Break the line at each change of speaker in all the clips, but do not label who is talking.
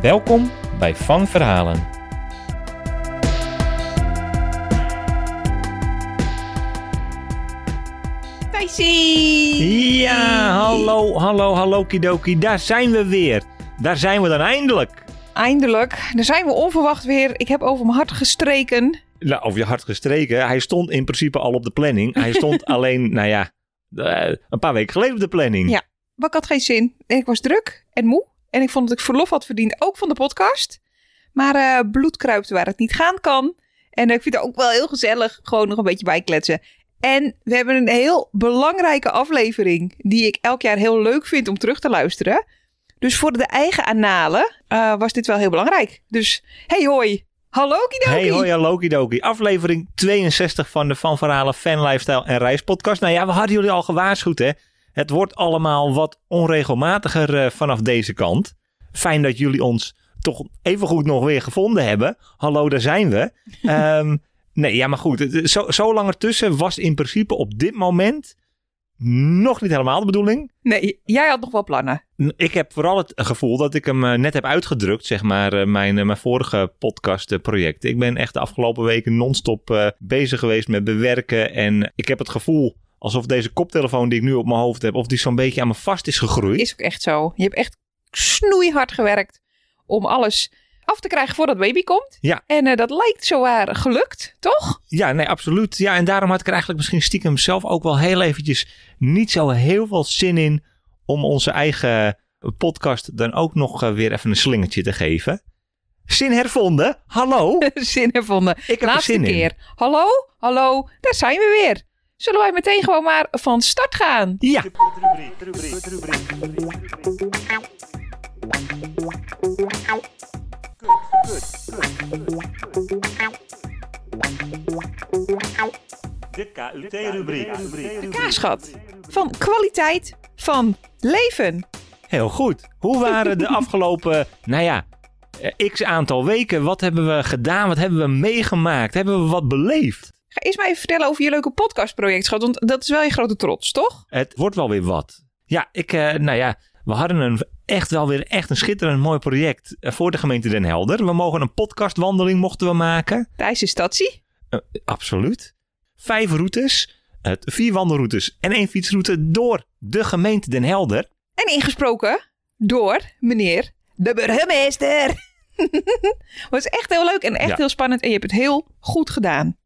Welkom bij Van Verhalen.
Thijsie!
Ja, hallo, hallo, hallo, kidoki. Daar zijn we weer. Daar zijn we dan eindelijk.
Eindelijk, daar zijn we onverwacht weer. Ik heb over mijn hart gestreken.
Nou, over je hart gestreken. Hij stond in principe al op de planning. Hij stond alleen, nou ja, eh, een paar weken geleden op de planning.
Ja. Maar ik had geen zin. Ik was druk en moe. En ik vond dat ik verlof had verdiend, ook van de podcast. Maar eh bloed kruipt waar het niet gaan kan. En ik vind het ook wel heel gezellig, gewoon nog een beetje bijkletsen. En we hebben een heel belangrijke aflevering, die ik elk jaar heel leuk vind om terug te luisteren. Dus voor de eigen analen eh, was dit wel heel belangrijk. Dus hey hoi, hallo kidoki.
Hey, hoi, hallo, kidoki. Aflevering 62 van de Van Verhalen Fan Lifestyle en Reis podcast. Nou ja, we hadden jullie al gewaarschuwd, hè. Het wordt allemaal wat onregelmatiger eh, vanaf deze kant. Fijn dat jullie ons toch evengoed nog weer gevonden hebben. Hallo, daar zijn we. Ehm, nee, ja, maar goed. het- het- Zo, zo lang ertussen was in principe op dit moment nog niet helemaal de bedoeling.
Nee, jij had nog wel plannen.
N- Ik heb vooral het gevoel dat ik hem eh, net heb uitgedrukt, zeg maar, eh, mijn, eh, mijn vorige podcastproject. Ik ben echt de afgelopen weken non-stop eh, bezig geweest met bewerken. En ik heb het gevoel alsof deze koptelefoon die ik nu op mijn hoofd heb, of die zo'n beetje aan me vast is gegroeid.
Is ook echt zo. Je hebt echt snoeihard gewerkt om alles af te krijgen voordat baby komt.
Ja.
En eh, dat lijkt zowaar gelukt, toch?
Ja, nee, absoluut. Ja, en daarom had ik er eigenlijk misschien stiekem zelf ook wel heel eventjes niet zo heel veel zin in om onze eigen podcast dan ook nog eh, weer even een slingertje te geven. Zin hervonden? Hallo?
zin hervonden.
Ik heb er
Laatste
zin in.
keer. Hallo, hallo, daar zijn we weer. Zullen wij meteen gewoon maar van start gaan?
Ja.
De KUT-rubriek.
De kaasgat van kwaliteit van leven.
Heel goed. Hoe waren de afgelopen, nou ja, eh, x aantal weken? Wat hebben we gedaan? Wat hebben we meegemaakt? Hebben we wat beleefd?
Ik Ga eerst maar even vertellen over je leuke podcastproject, schat. Want dat is wel je grote trots, toch?
Het wordt wel weer wat. Ja, ik, eh, nou ja, we hadden een, echt wel weer echt een schitterend mooi project eh, voor de gemeente Den Helder. We mogen een podcastwandeling mochten we maken.
Thijs is Tatsie.
Eh, absoluut. Vijf routes, eh, vier wandelroutes en één fietsroute door de gemeente Den Helder.
En ingesproken door meneer de burgemeester. was echt heel leuk en echt
Ja.
heel spannend. En je hebt het heel goed gedaan.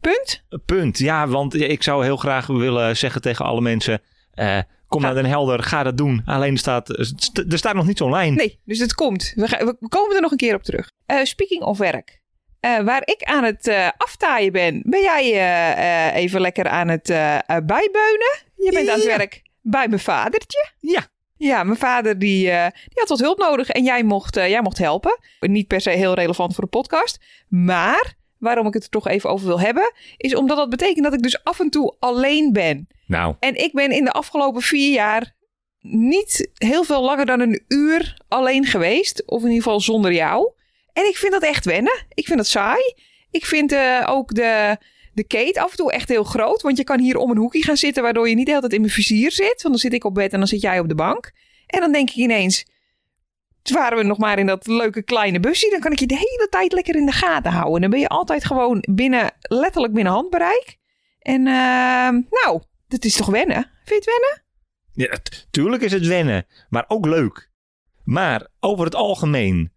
Punt.
Punt. Ja, want ik zou heel graag willen zeggen tegen alle mensen: eh, kom
Ga-
naar Den Helder, ga dat doen. Alleen er staat, st- er staat nog niet zo'n lijn.
Nee, dus het komt. We, ga- we komen er nog een keer op terug. Eh, speaking of werk. Eh, waar ik aan het eh, aftaaien ben, ben jij eh, eh, even lekker aan het eh eh, bijbeunen. Je bent aan het
Ja.
werk bij mijn vadertje.
Ja.
Ja, mijn vader die, eh, die had wat hulp nodig en jij mocht, eh, jij mocht helpen. Niet per se heel relevant voor de podcast. Maar waarom ik het er toch even over wil hebben, is omdat dat betekent dat ik dus af en toe alleen ben.
Nou,
En ik ben in de afgelopen vier jaar niet heel veel langer dan een uur alleen geweest. Of in ieder geval zonder jou. En ik vind dat echt wennen. Ik vind dat saai. Ik vind eh, ook de, de kate af en toe echt heel groot. Want je kan hier om een hoekje gaan zitten, waardoor je niet de hele tijd in mijn vizier zit. Want dan zit ik op bed en dan zit jij op de bank. En dan denk ik ineens. "Toen Waren we nog maar in dat leuke kleine busje, dan kan ik je de hele tijd lekker in de gaten houden. Dan ben je altijd gewoon binnen, letterlijk binnen handbereik. En ehm, nou, dat is toch wennen? Vind je het wennen?
ja, t- tuurlijk is het wennen, maar ook leuk. Maar over het algemeen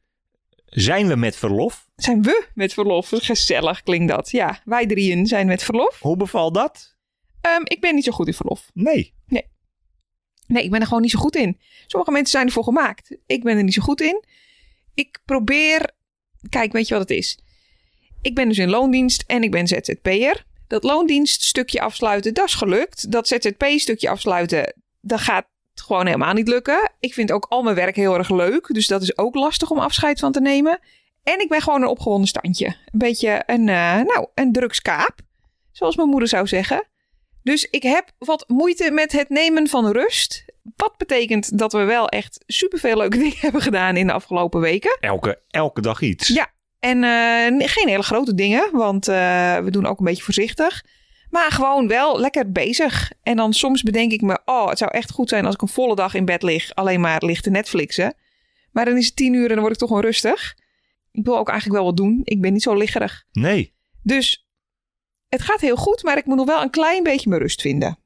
zijn we met verlof.
Zijn we met verlof? Gezellig klinkt dat. Ja, wij drieën zijn met verlof.
Hoe bevalt dat?
Ehm, ik ben niet zo goed in verlof.
Nee.
Nee, ik ben er gewoon niet zo goed in. Sommige mensen zijn ervoor gemaakt. Ik ben er niet zo goed in. Ik probeer... Kijk, weet je wat het is? Ik ben dus in loondienst en ik ben ZZP'er. Dat loondienststukje afsluiten, dat is gelukt. Dat ZZP-stukje afsluiten, dat gaat het gewoon helemaal niet lukken. Ik vind ook al mijn werk heel erg leuk. Dus dat is ook lastig om afscheid van te nemen. En ik ben gewoon een opgewonden standje. Een beetje een, eh, nou, een drugskaap. Zoals mijn moeder zou zeggen. Dus ik heb wat moeite met het nemen van rust. Wat betekent dat we wel echt superveel leuke dingen hebben gedaan in de afgelopen weken.
Elke, elke dag iets.
Ja. En eh, geen hele grote dingen, want eh, we doen ook een beetje voorzichtig. Maar gewoon wel lekker bezig. En dan soms bedenk ik me, oh, het zou echt goed zijn als ik een volle dag in bed lig, alleen maar lig te Netflixen. Maar dan is het tien uur en dan word ik toch onrustig. Ik wil ook eigenlijk wel wat doen. Ik ben niet zo liggerig.
Nee.
Dus het gaat heel goed, maar ik moet nog wel een klein beetje mijn rust vinden.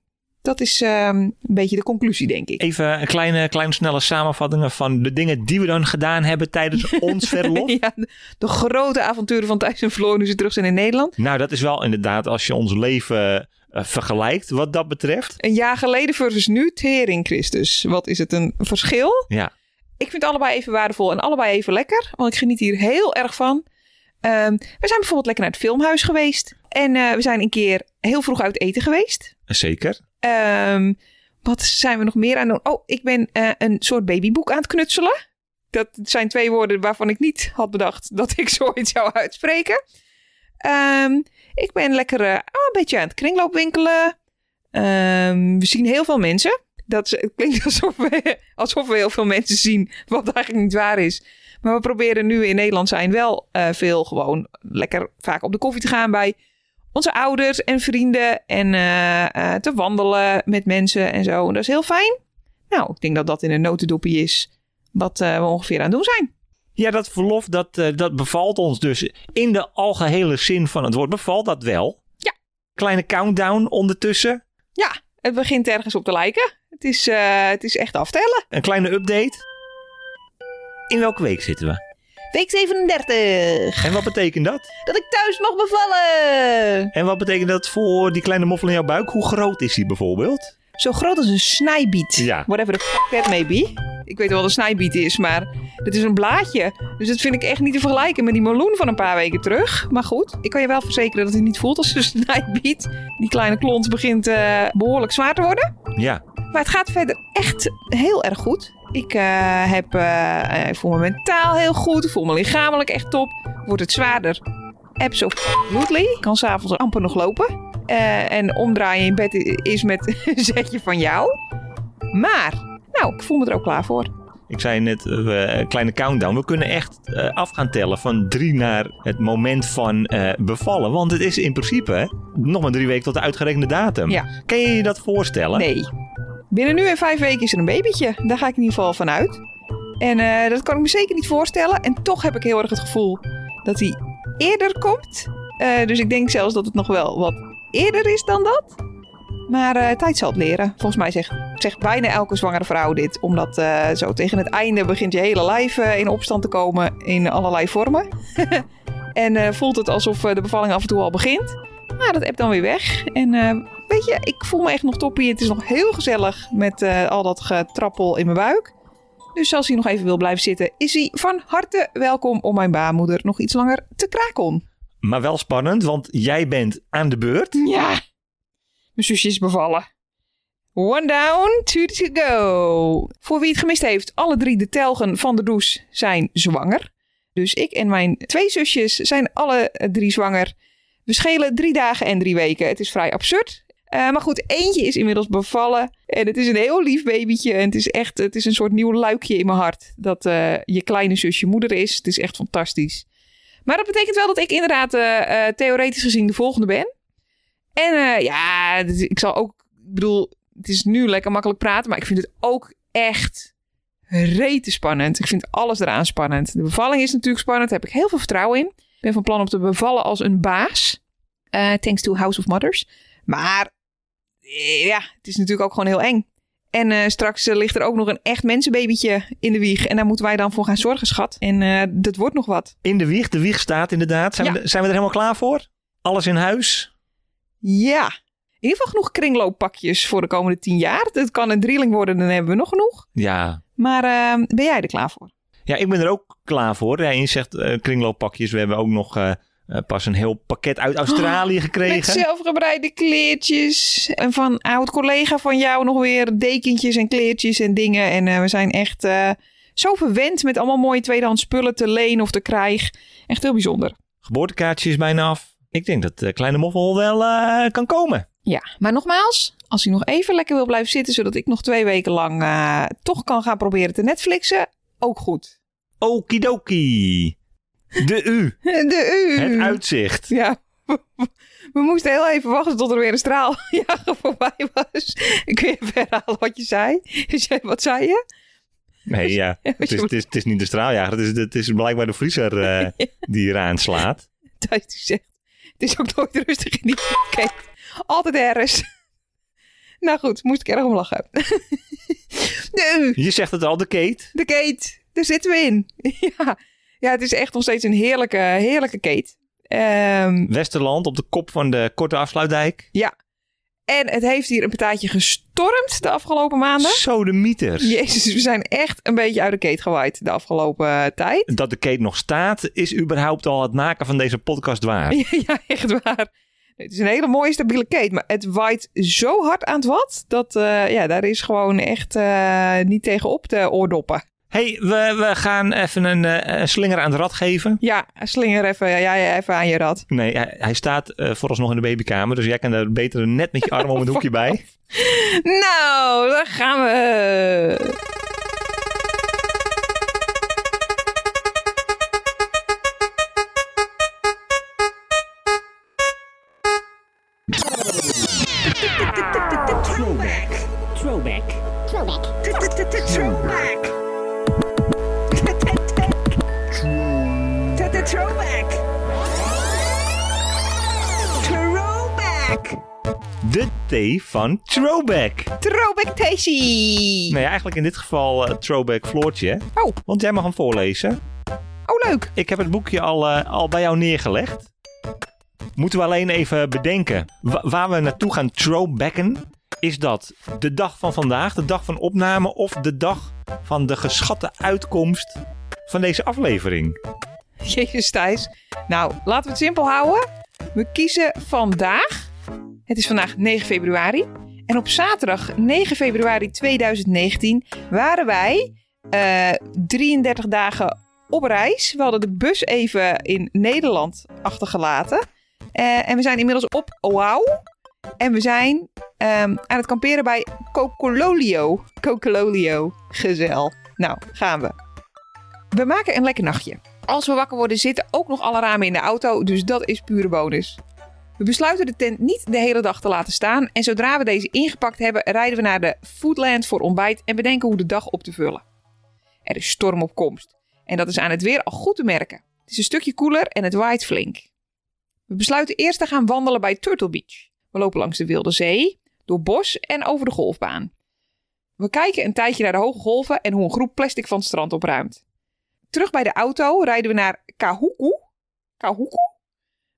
Dat is ehm, een beetje de conclusie, denk ik.
Even een kleine, kleine snelle samenvatting van de dingen die we dan gedaan hebben tijdens ons verlof.
Ja, de- de grote avonturen van Thijs en Floor nu ze terug zijn in Nederland.
Nou, dat is wel inderdaad als je ons leven eh, vergelijkt wat dat betreft.
Een jaar geleden versus nu, tering Christus. Wat is het een verschil?
Ja.
Ik vind allebei even waardevol en allebei even lekker. Want ik geniet hier heel erg van. Ehm, we zijn bijvoorbeeld lekker naar het filmhuis geweest. En eh, we zijn een keer heel vroeg uit eten geweest.
Zeker.
Ehm, wat zijn we nog meer aan het doen? Oh, ik ben eh, een soort babyboek aan het knutselen. Dat zijn twee woorden waarvan ik niet had bedacht dat ik zoiets zou uitspreken. Ehm, ik ben lekker eh, een beetje aan het kringloop winkelen. Ehm, we zien heel veel mensen. Dat is- het klinkt alsof we, alsof we heel veel mensen zien, wat eigenlijk niet waar is. Maar we proberen nu in Nederland zijn wel eh, veel gewoon lekker vaak op de koffie te gaan bij onze ouders en vrienden. En eh, eh, te wandelen met mensen en zo. En dat is heel fijn. Nou, ik denk dat dat in een notendopje is wat eh, we ongeveer aan het doen zijn.
Ja, dat verlof, dat, eh, dat bevalt ons dus in de algehele zin van het woord. Bevalt dat wel?
Ja.
Kleine countdown ondertussen.
Ja, het begint ergens op te lijken. Het is, eh, het is echt aftellen.
Een kleine update. In welke week zitten we?
Week 37.
En wat betekent dat?
Dat ik thuis mag bevallen.
En wat betekent dat voor die kleine moffel in jouw buik? Hoe groot is die bijvoorbeeld?
Zo groot als een snijbiet.
Ja.
Whatever the fuck that may be. Ik weet wel wat een snijbiet is, maar dit is een blaadje. Dus dat vind ik echt niet te vergelijken met die meloen van een paar weken terug. Maar goed, ik kan je wel verzekeren dat het niet voelt als een snijbiet. Die kleine klont begint eh, behoorlijk zwaar te worden.
Ja.
Maar het gaat verder echt heel erg goed. Ik, eh, heb, eh, eh, ik voel me mentaal heel goed. Ik voel me lichamelijk echt top. Wordt het zwaarder? Absolutely. Ik kan s'avonds amper nog lopen. Eh, en omdraaien in bed i- is met een zetje van jou. Maar, nou, ik voel me er ook klaar voor.
Ik zei net, eh, eh, kleine countdown. We kunnen echt eh, af gaan tellen van drie naar het moment van eh, bevallen. Want het is in principe hè, nog maar drie weken tot de uitgerekende datum.
Ja.
Kan je je dat voorstellen?
Nee. Binnen nu en vijf weken is er een babytje. Daar ga ik in ieder geval van uit. En eh, dat kan ik me zeker niet voorstellen. En toch heb ik heel erg het gevoel dat hij eerder komt. Eh, dus ik denk zelfs dat het nog wel wat eerder is dan dat. Maar eh, tijd zal het leren. Volgens mij zegt, zegt bijna elke zwangere vrouw dit. Omdat eh, zo tegen het einde begint je hele lijf eh, in opstand te komen in allerlei vormen. en eh, voelt het alsof eh, de bevalling af en toe al begint. Maar dat heb dan weer weg. En eh, Weet je, ik voel me echt nog toppie. Het is nog heel gezellig met eh, al dat getrappel in mijn buik. Dus als hij nog even wil blijven zitten, is hij van harte welkom om mijn baarmoeder nog iets langer te kraken.
Maar wel spannend, want jij bent aan de beurt.
Ja, mijn zusje is bevallen. One down, two to go. Voor wie het gemist heeft, alle drie de telgen van de douche zijn zwanger. Dus ik en mijn twee zusjes zijn alle eh, drie zwanger. We schelen drie dagen en drie weken. Het is vrij absurd. Eh, maar goed, eentje is inmiddels bevallen. En het is een heel lief babytje. En het is echt het is een soort nieuw luikje in mijn hart. Dat eh, je kleine zusje moeder is. Het is echt fantastisch. Maar dat betekent wel dat ik inderdaad eh, eh, theoretisch gezien de volgende ben. En eh, ja, dus ik zal ook... Ik bedoel, het is nu lekker makkelijk praten. Maar ik vind het ook echt rete spannend. Ik vind alles eraan spannend. De bevalling is natuurlijk spannend. Daar heb ik heel veel vertrouwen in. Ik ben van plan om te bevallen als een baas. Eh, thanks to House of Mothers. Maar eh, ja, het is natuurlijk ook gewoon heel eng. En eh, straks eh, ligt er ook nog een echt mensenbabytje in de wieg. En daar moeten wij dan voor gaan zorgen, schat. En eh, dat wordt nog wat.
In de wieg, de wieg staat inderdaad. Zijn,
Ja.
we, er- zijn we er helemaal klaar voor? Alles in huis?
Ja. In ieder geval genoeg kringlooppakjes voor de komende tien jaar. Het kan een drieling worden, dan hebben we nog genoeg.
Ja.
Maar eh, ben jij er klaar voor?
Ja, ik ben er ook klaar voor. Ja, je zegt eh, kringlooppakjes. We hebben ook nog eh, eh, pas een heel pakket uit Australië
Oh, Met
gekregen.
zelfgebreide kleertjes. En van oud collega van jou nog weer dekentjes en kleertjes en dingen. En eh, we zijn echt eh, zo verwend met allemaal mooie tweedehands spullen te leen of te krijgen. Echt heel bijzonder.
Geboortekaartje is bijna af. Ik denk dat de kleine moffel wel eh, kan komen.
Ja, maar nogmaals, als hij nog even lekker wil blijven zitten, zodat ik nog twee weken lang eh, toch kan gaan proberen te Netflixen, ook goed.
Okidoki. De U.
De U.
Het uitzicht.
Ja. We moesten heel even wachten tot er weer een straaljager voorbij was. Kun je even herhalen wat je zei? Wat zei je?
Nee, ja. Het is, het is, het is niet de straaljager. Het is, het is blijkbaar de vriezer eh, die eraan slaat.
Thijs die zegt, het is ook nooit rustig in die kijk. Altijd ergens. Nou goed, moest ik erg om lachen. De U,
Je zegt het al, de Kate.
de Kate, daar zitten we in. Ja, ja het is echt nog steeds een heerlijke, heerlijke Kate. Ehm,
Westerland op de kop van de korte afsluitdijk.
en het heeft hier een partijtje gestormd de afgelopen maanden.
Sodemieters.
Jezus, we zijn echt een beetje uit de Kate gewaaid de afgelopen eh, tijd.
Dat de Kate nog staat, is überhaupt al het maken van deze podcast waar.
Ja, ja, echt waar. Het is een hele mooie stabiele kate, maar het waait zo hard aan het wat dat eh, ja, daar is gewoon echt eh, niet tegenop te oordoppen.
hey, we, we gaan even een, eh, een slinger aan het rad geven.
Ja, slinger even, ja, ja, even aan je rad.
Nee, hij, hij staat eh, vooralsnog in de babykamer. Dus jij kan daar beter net met je arm om het hoekje bij.
Nou, daar gaan we.
Throwback. Throwback. Throwback. Throwback. Throwback. Throwback.
De thee van Throwback.
Throwback Tasty.
Nee, eigenlijk in dit geval eh, Throwback Floortje. hè?
Oh.
Want jij mag hem voorlezen.
Oh, leuk.
Ik heb het boekje al, eh, al bij jou neergelegd. Moeten we alleen even bedenken. Wa- waar we naartoe gaan throwbacken, is dat de dag van vandaag, de dag van opname of de dag van de geschatte uitkomst van deze aflevering.
Jezus Thijs. Nou, laten we het simpel houden. We kiezen vandaag. Het is vandaag 9 februari. En op zaterdag 9 februari 2019 waren wij eh, 33 dagen op reis. We hadden de bus even in Nederland achtergelaten. Eh, en we zijn inmiddels op Oahu. En we zijn ehm, aan het kamperen bij Kokololio. Kokololio. Gezel. Nou, gaan we. We maken een lekker nachtje. Als we wakker worden zitten ook nog alle ramen in de auto, dus dat is pure bonus. We besluiten de tent niet de hele dag te laten staan en zodra we deze ingepakt hebben, rijden we naar de Foodland voor ontbijt en bedenken hoe de dag op te vullen. Er is storm op komst en dat is aan het weer al goed te merken. Het is een stukje koeler en het waait flink. We besluiten eerst te gaan wandelen bij Turtle Beach. We lopen langs de Wilde Zee, door bos en over de golfbaan. We kijken een tijdje naar de hoge golven en hoe een groep plastic van het strand opruimt. Terug bij de auto rijden we naar Kahuku. Kahuku?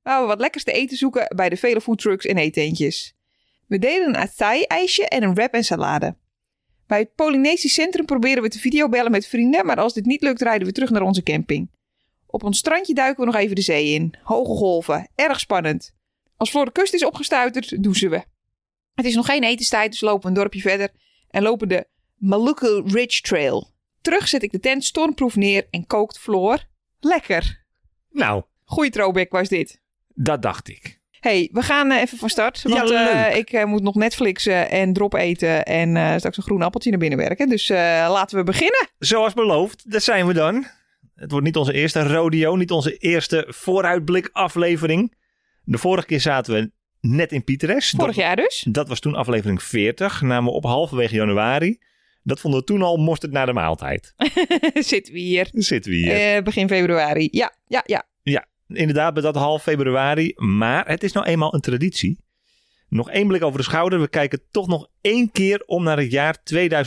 Waar we wat lekkers te eten zoeken bij de vele foodtrucks en eetentjes. We delen een acai-ijsje en een wrap en salade. Bij het Polynesisch Centrum proberen we te videobellen met vrienden, maar als dit niet lukt rijden we terug naar onze camping. Op ons strandje duiken we nog even de zee in. Hoge golven, erg spannend. Als Floor de kust is opgestuiterd, douchen we. Het is nog geen etenstijd, dus lopen we een dorpje verder en lopen de Maluku Ridge Trail. Terug zet ik de tent stormproef neer en kookt Floor. Lekker.
Nou,
Goeie throwback was dit.
dat dacht ik.
hey, we gaan eh, even van start.
Ja,
Want eh,
leuk.
ik eh, moet nog Netflixen en drop eten en eh, straks een groen appeltje naar binnen werken. Dus eh, laten we beginnen.
Zoals beloofd, daar zijn we dan. Het wordt niet onze eerste rodeo, niet onze eerste vooruitblik aflevering. De vorige keer zaten we net in Pieteres.
Vorig
Dat-
jaar dus.
Dat was toen aflevering 40, namen we op halverwege januari. Dat vonden we toen al mosterd na de maaltijd.
Zitten we hier.
Dan zitten we hier.
Eh, begin februari. Ja, ja, ja.
Inderdaad, bij dat half februari. Maar het is nou eenmaal een traditie. Nog één blik over de schouder. We kijken toch nog één keer om naar het jaar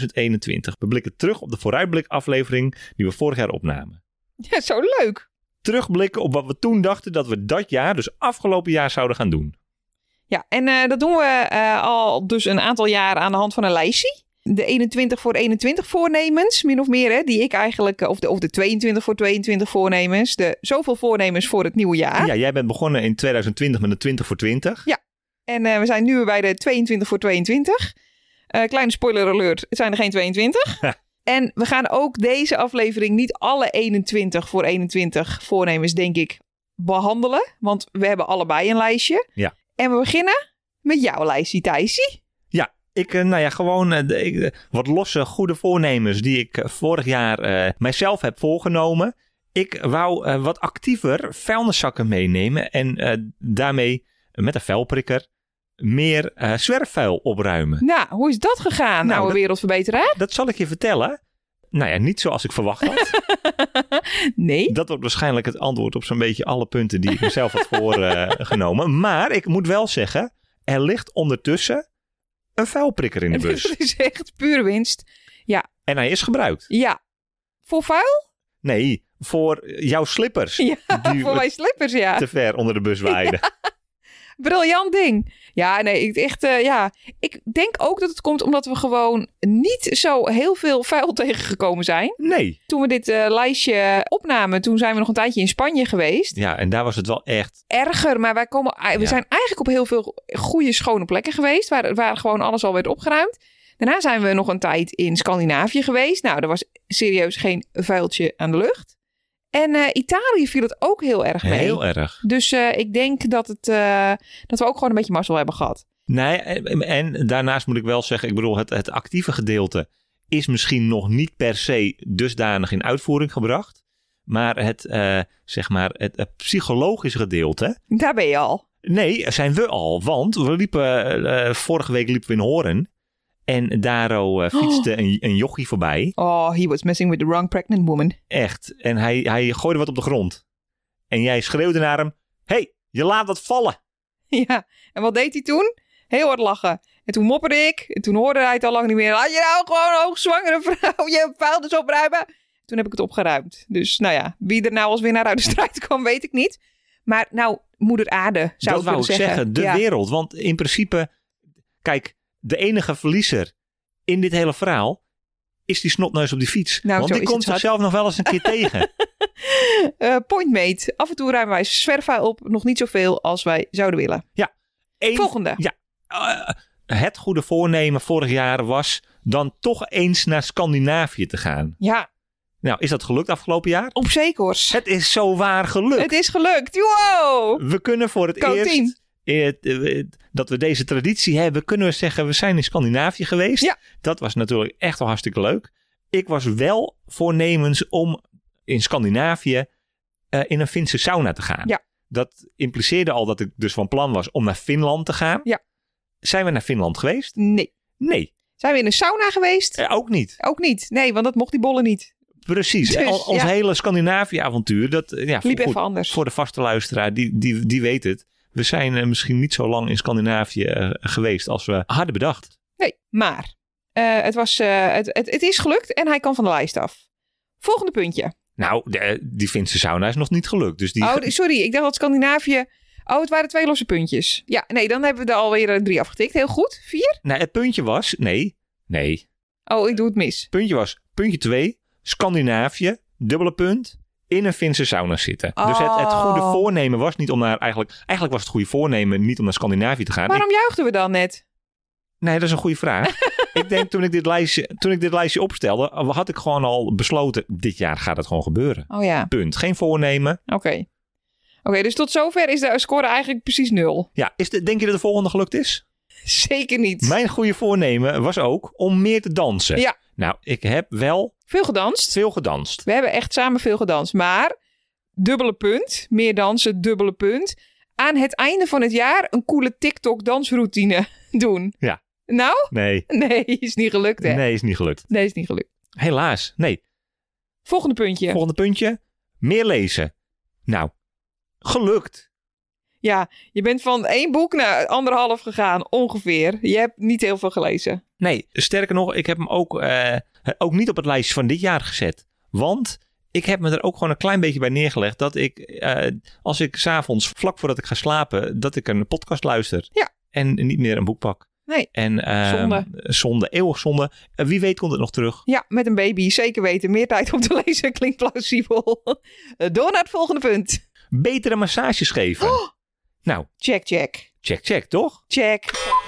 2021. We blikken terug op de vooruitblik aflevering die we vorig jaar opnamen.
ja. Zo leuk.
Terugblikken op wat we toen dachten dat we dat jaar, dus afgelopen jaar, zouden gaan doen.
Ja, en eh, dat doen we eh, al dus een aantal jaar aan de hand van een lijstje. de 21 voor 21 voornemens, min of meer, hè, die ik eigenlijk, eh, of de, of de 22 voor 22 voornemens, de zoveel voornemens voor het nieuwe jaar.
Ja, jij bent begonnen in 2020 met een 20 voor 20.
En eh, we zijn nu weer bij de 22 voor 22. Eh, kleine spoiler alert, het zijn er geen 22. en we gaan ook deze aflevering niet alle 21 voor 21 voornemens, denk ik, behandelen. Want we hebben allebei een lijstje.
Ja.
En we beginnen met jouw lijstje, Thijsie.
Ik, eh, nou ja, gewoon eh, de- ik, eh, wat losse goede voornemens die ik eh, vorig jaar eh, mijzelf heb voorgenomen. Ik wou eh, wat actiever vuilniszakken meenemen en eh, daarmee met een vuilprikker meer eh, zwerfvuil opruimen.
Nou, hoe is dat gegaan,
Nou,
oude
dat-
wereldverbeteraar?
Dat zal ik je vertellen. Nou ja, niet zoals ik verwacht had.
Nee.
Dat wordt waarschijnlijk het antwoord op zo'n beetje alle punten die ik mezelf had voorgenomen. Maar ik moet wel zeggen, er ligt ondertussen een vuilprikker in de bus.
Het is echt puur winst.
En hij is gebruikt.
Ja. Voor vuil?
Nee, voor jouw slippers.
Ja,
die
voor mijn slippers, ja.
te ver onder de bus waaiden.
Briljant ding. Ja, nee, ik, echt, eh, ja. ik denk ook dat het komt omdat we gewoon niet zo heel veel vuil tegengekomen zijn.
Nee.
Toen we dit eh, lijstje opnamen, toen zijn we nog een tijdje in Spanje geweest.
Ja, en daar was het wel echt.
Erger, maar wij komen, eh, we
Ja.
zijn eigenlijk op heel veel goede, schone plekken geweest. Waar, waar gewoon alles al werd opgeruimd. Daarna zijn we nog een tijd in Scandinavië geweest. Nou, er was serieus geen vuiltje aan de lucht. En eh, Italië viel het ook heel erg mee.
Heel erg.
Dus eh, ik denk dat, het, eh, dat we ook gewoon een beetje mazzel hebben gehad.
Nee, en, en daarnaast moet ik wel zeggen, ik bedoel, het, het actieve gedeelte is misschien nog niet per se dusdanig in uitvoering gebracht. Maar het, eh, zeg maar, het, eh, psychologische gedeelte.
Daar ben je al.
Nee, zijn we al. Want we liepen, eh, eh, vorige week liepen we in Horen. En daar oh, eh, fietste een, een jochie voorbij.
Oh, he was messing with the wrong pregnant woman.
Echt. En hij, hij gooide wat op de grond. En jij schreeuwde naar hem: hey, je laat dat vallen.
ja. En wat deed hij toen? Heel hard lachen. En toen mopperde ik. En toen hoorde hij het al lang niet meer. Laat je nou gewoon een hoogzwangere vrouw je vuil dus opruimen. Toen heb ik het opgeruimd. Dus nou ja, wie er nou als winnaar uit de strijd kwam, weet ik niet. Maar nou, moeder aarde, zou
dat
ik
wou
willen
ik zeggen. de
Ja.
wereld. Want in principe, kijk, de enige verliezer in dit hele verhaal is die snotneus op die fiets.
Nou,
want
zo
die
is
komt
het, schat.
zichzelf nog wel eens een keer tegen.
Eh, point mate. Af en toe ruimen wij zwerfvuil op. Nog niet zoveel als wij zouden willen.
Eén-
Volgende.
eh, het goede voornemen vorig jaar was dan toch eens naar Scandinavië te gaan.
Ja,
Nou, is dat gelukt afgelopen jaar?
op zekers.
Het is zo waar gelukt.
Het is gelukt. Wow!
We kunnen voor het
Go
eerst
team.
eh, eh, dat we deze traditie hebben, kunnen we zeggen we zijn in Scandinavië geweest.
Ja.
Dat was natuurlijk echt wel hartstikke leuk. Ik was wel voornemens om in Scandinavië eh, in een Finse sauna te gaan.
Ja.
Dat impliceerde al dat ik dus van plan was om naar Finland te gaan.
Ja.
Zijn we naar Finland geweest?
Nee.
Nee,
Zijn we in een sauna geweest?
eh, ook niet.
Ook niet. Nee, want dat mocht die bollen niet.
Precies.
Dus,
Al- ons
ja.
hele Scandinavië-avontuur, dat eh, ja,
Liep
goed,
even anders.
voor de vaste luisteraar, die, die, die weet het. We zijn eh, misschien niet zo lang in Scandinavië eh, geweest als we hadden bedacht.
Nee, maar eh, het, was, eh, het, het, het is gelukt en hij kan van de lijst af. Volgende puntje.
Nou, de- die Finse sauna is nog niet gelukt. Dus die,
Oh, sorry, ik dacht dat Scandinavië... Oh, het waren twee losse puntjes. Ja, nee, dan hebben we er alweer eh, drie afgetikt. Heel goed. Vier?
nou, het puntje was... Nee, nee. Het
Oh, ik doe het mis.
puntje was puntje 2. Scandinavië, dubbele punt, in een Finse sauna zitten. Dus het, het goede
Oh.
voornemen was niet om naar... Eigenlijk, eigenlijk was het goede voornemen niet om naar Scandinavië te gaan.
Waarom juichten we dan net?
Ik- nee, dat is een goede vraag. ik denk toen ik, dit lijstje, toen ik dit lijstje opstelde, had ik gewoon al besloten... Dit jaar gaat het gewoon gebeuren.
Oh ja,
Punt. Geen voornemen.
oké. Oké, dus tot zover is de score eigenlijk precies nul.
Ja, is de, denk je dat de volgende gelukt is?
Zeker niet.
Mijn goede voornemen was ook om meer te dansen.
Ja.
Nou, ik heb wel
Veel gedanst.
veel gedanst.
We hebben echt samen veel gedanst. Maar dubbele punt, meer dansen, dubbele punt. Aan het einde van het jaar een coole TikTok dansroutine doen.
Ja.
Nou,
Nee,
nee, is niet gelukt hè? Nee,
nee, is niet gelukt.
is niet gelukt.
Helaas. Nee,
Volgende puntje.
volgende puntje. Meer lezen. Nou, gelukt.
ja, je bent van één boek naar anderhalf gegaan, ongeveer. Je hebt niet heel veel gelezen.
Nee, sterker nog, ik heb hem ook, eh, ook niet op het lijstje van dit jaar gezet. Want ik heb me er ook gewoon een klein beetje bij neergelegd dat ik, eh, als ik s'avonds vlak voordat ik ga slapen, dat ik een podcast luister.
Ja.
En niet meer een boek pak.
Nee.
En, ehm,
Zonde.
Zonde, eeuwig zonde. Eh, wie weet komt het nog terug.
Ja, met een baby. Zeker weten. Meer tijd om te lezen klinkt plausibel. Eh, Door naar het volgende punt.
Betere massages geven.
Oh!
Nou,
Check, check.
check, check, toch?
Check,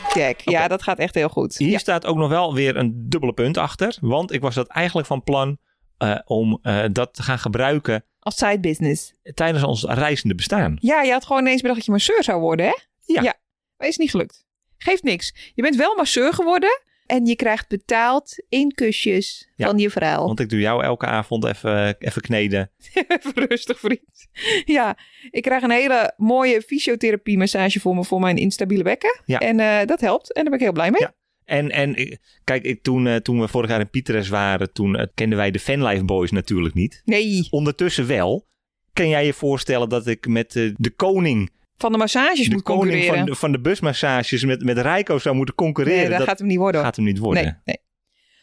check. Ja, dat gaat echt heel goed.
Hier
Ja.
staat ook nog wel weer een dubbele punt achter. Want ik was dat eigenlijk van plan eh, om eh, dat te gaan gebruiken
Als side business.
tijdens ons reizende bestaan.
Ja, je had gewoon ineens bedacht dat je masseur zou worden, hè?
Ja.
Maar is niet gelukt. Geeft niks. Je bent wel masseur geworden en je krijgt betaald in kusjes
Ja.
van je vrouw.
Want ik doe jou elke avond even, even kneden.
Even rustig, vriend. Ja, ik krijg een hele mooie fysiotherapie massage voor me voor mijn instabiele bekken.
Ja.
En eh, dat helpt. En daar ben ik heel blij mee.
Ja. En, en eh, kijk, ik, toen, eh, toen we vorig jaar in Pieteres waren, toen eh, kenden wij de Fanlife Boys natuurlijk niet.
Nee,
Ondertussen wel. Kan jij je voorstellen dat ik met eh, de koning,
van de massages
de
moet
koning
concurreren.
van, de- van de busmassages met, met Rijko zou moeten concurreren?
nee, dat, gaat hem niet worden.
gaat hem niet worden.
nee, nee.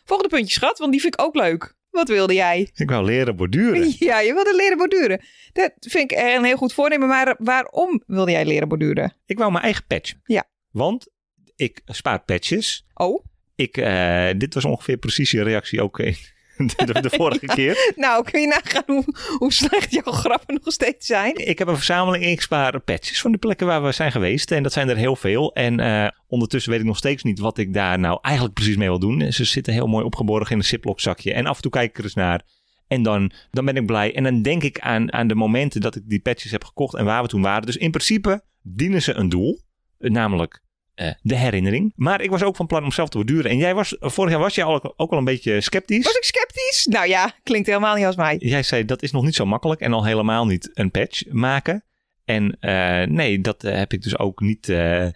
Volgende puntje, schat, want die vind ik ook leuk. Wat wilde jij?
Ik wou leren borduren.
Ja, je wilde leren borduren. Dat vind ik een heel goed voornemen. Maar waarom wilde jij leren borduren?
Ik wou mijn eigen patch.
Ja.
Want ik spaar patches.
Oh,
Ik, eh, dit was ongeveer precies je reactie ook in de, de- de vorige keer.
nou kun je nagaan hoe, hoe slecht jouw grappen nog steeds zijn.
Ik heb een verzameling en ik spaar patches van de plekken waar we zijn geweest. En dat zijn er heel veel. En eh, ondertussen weet ik nog steeds niet wat ik daar nou eigenlijk precies mee wil doen. Ze zitten heel mooi opgeborgen in een ziplock zakje. En af en toe kijk ik er eens naar. En dan, dan ben ik blij. En dan denk ik aan, aan de momenten dat ik die patches heb gekocht en waar we toen waren. Dus in principe dienen ze een doel. Eh, Namelijk eh, de herinnering. Maar ik was ook van plan om zelf te borduren. En jij was, vorig jaar was jij al, ook al een beetje sceptisch.
Was ik sceptisch? Nou ja, klinkt helemaal niet als mij.
Jij zei dat is nog niet zo makkelijk en al helemaal niet een patch maken. En eh, nee, dat eh, heb ik dus ook niet eh,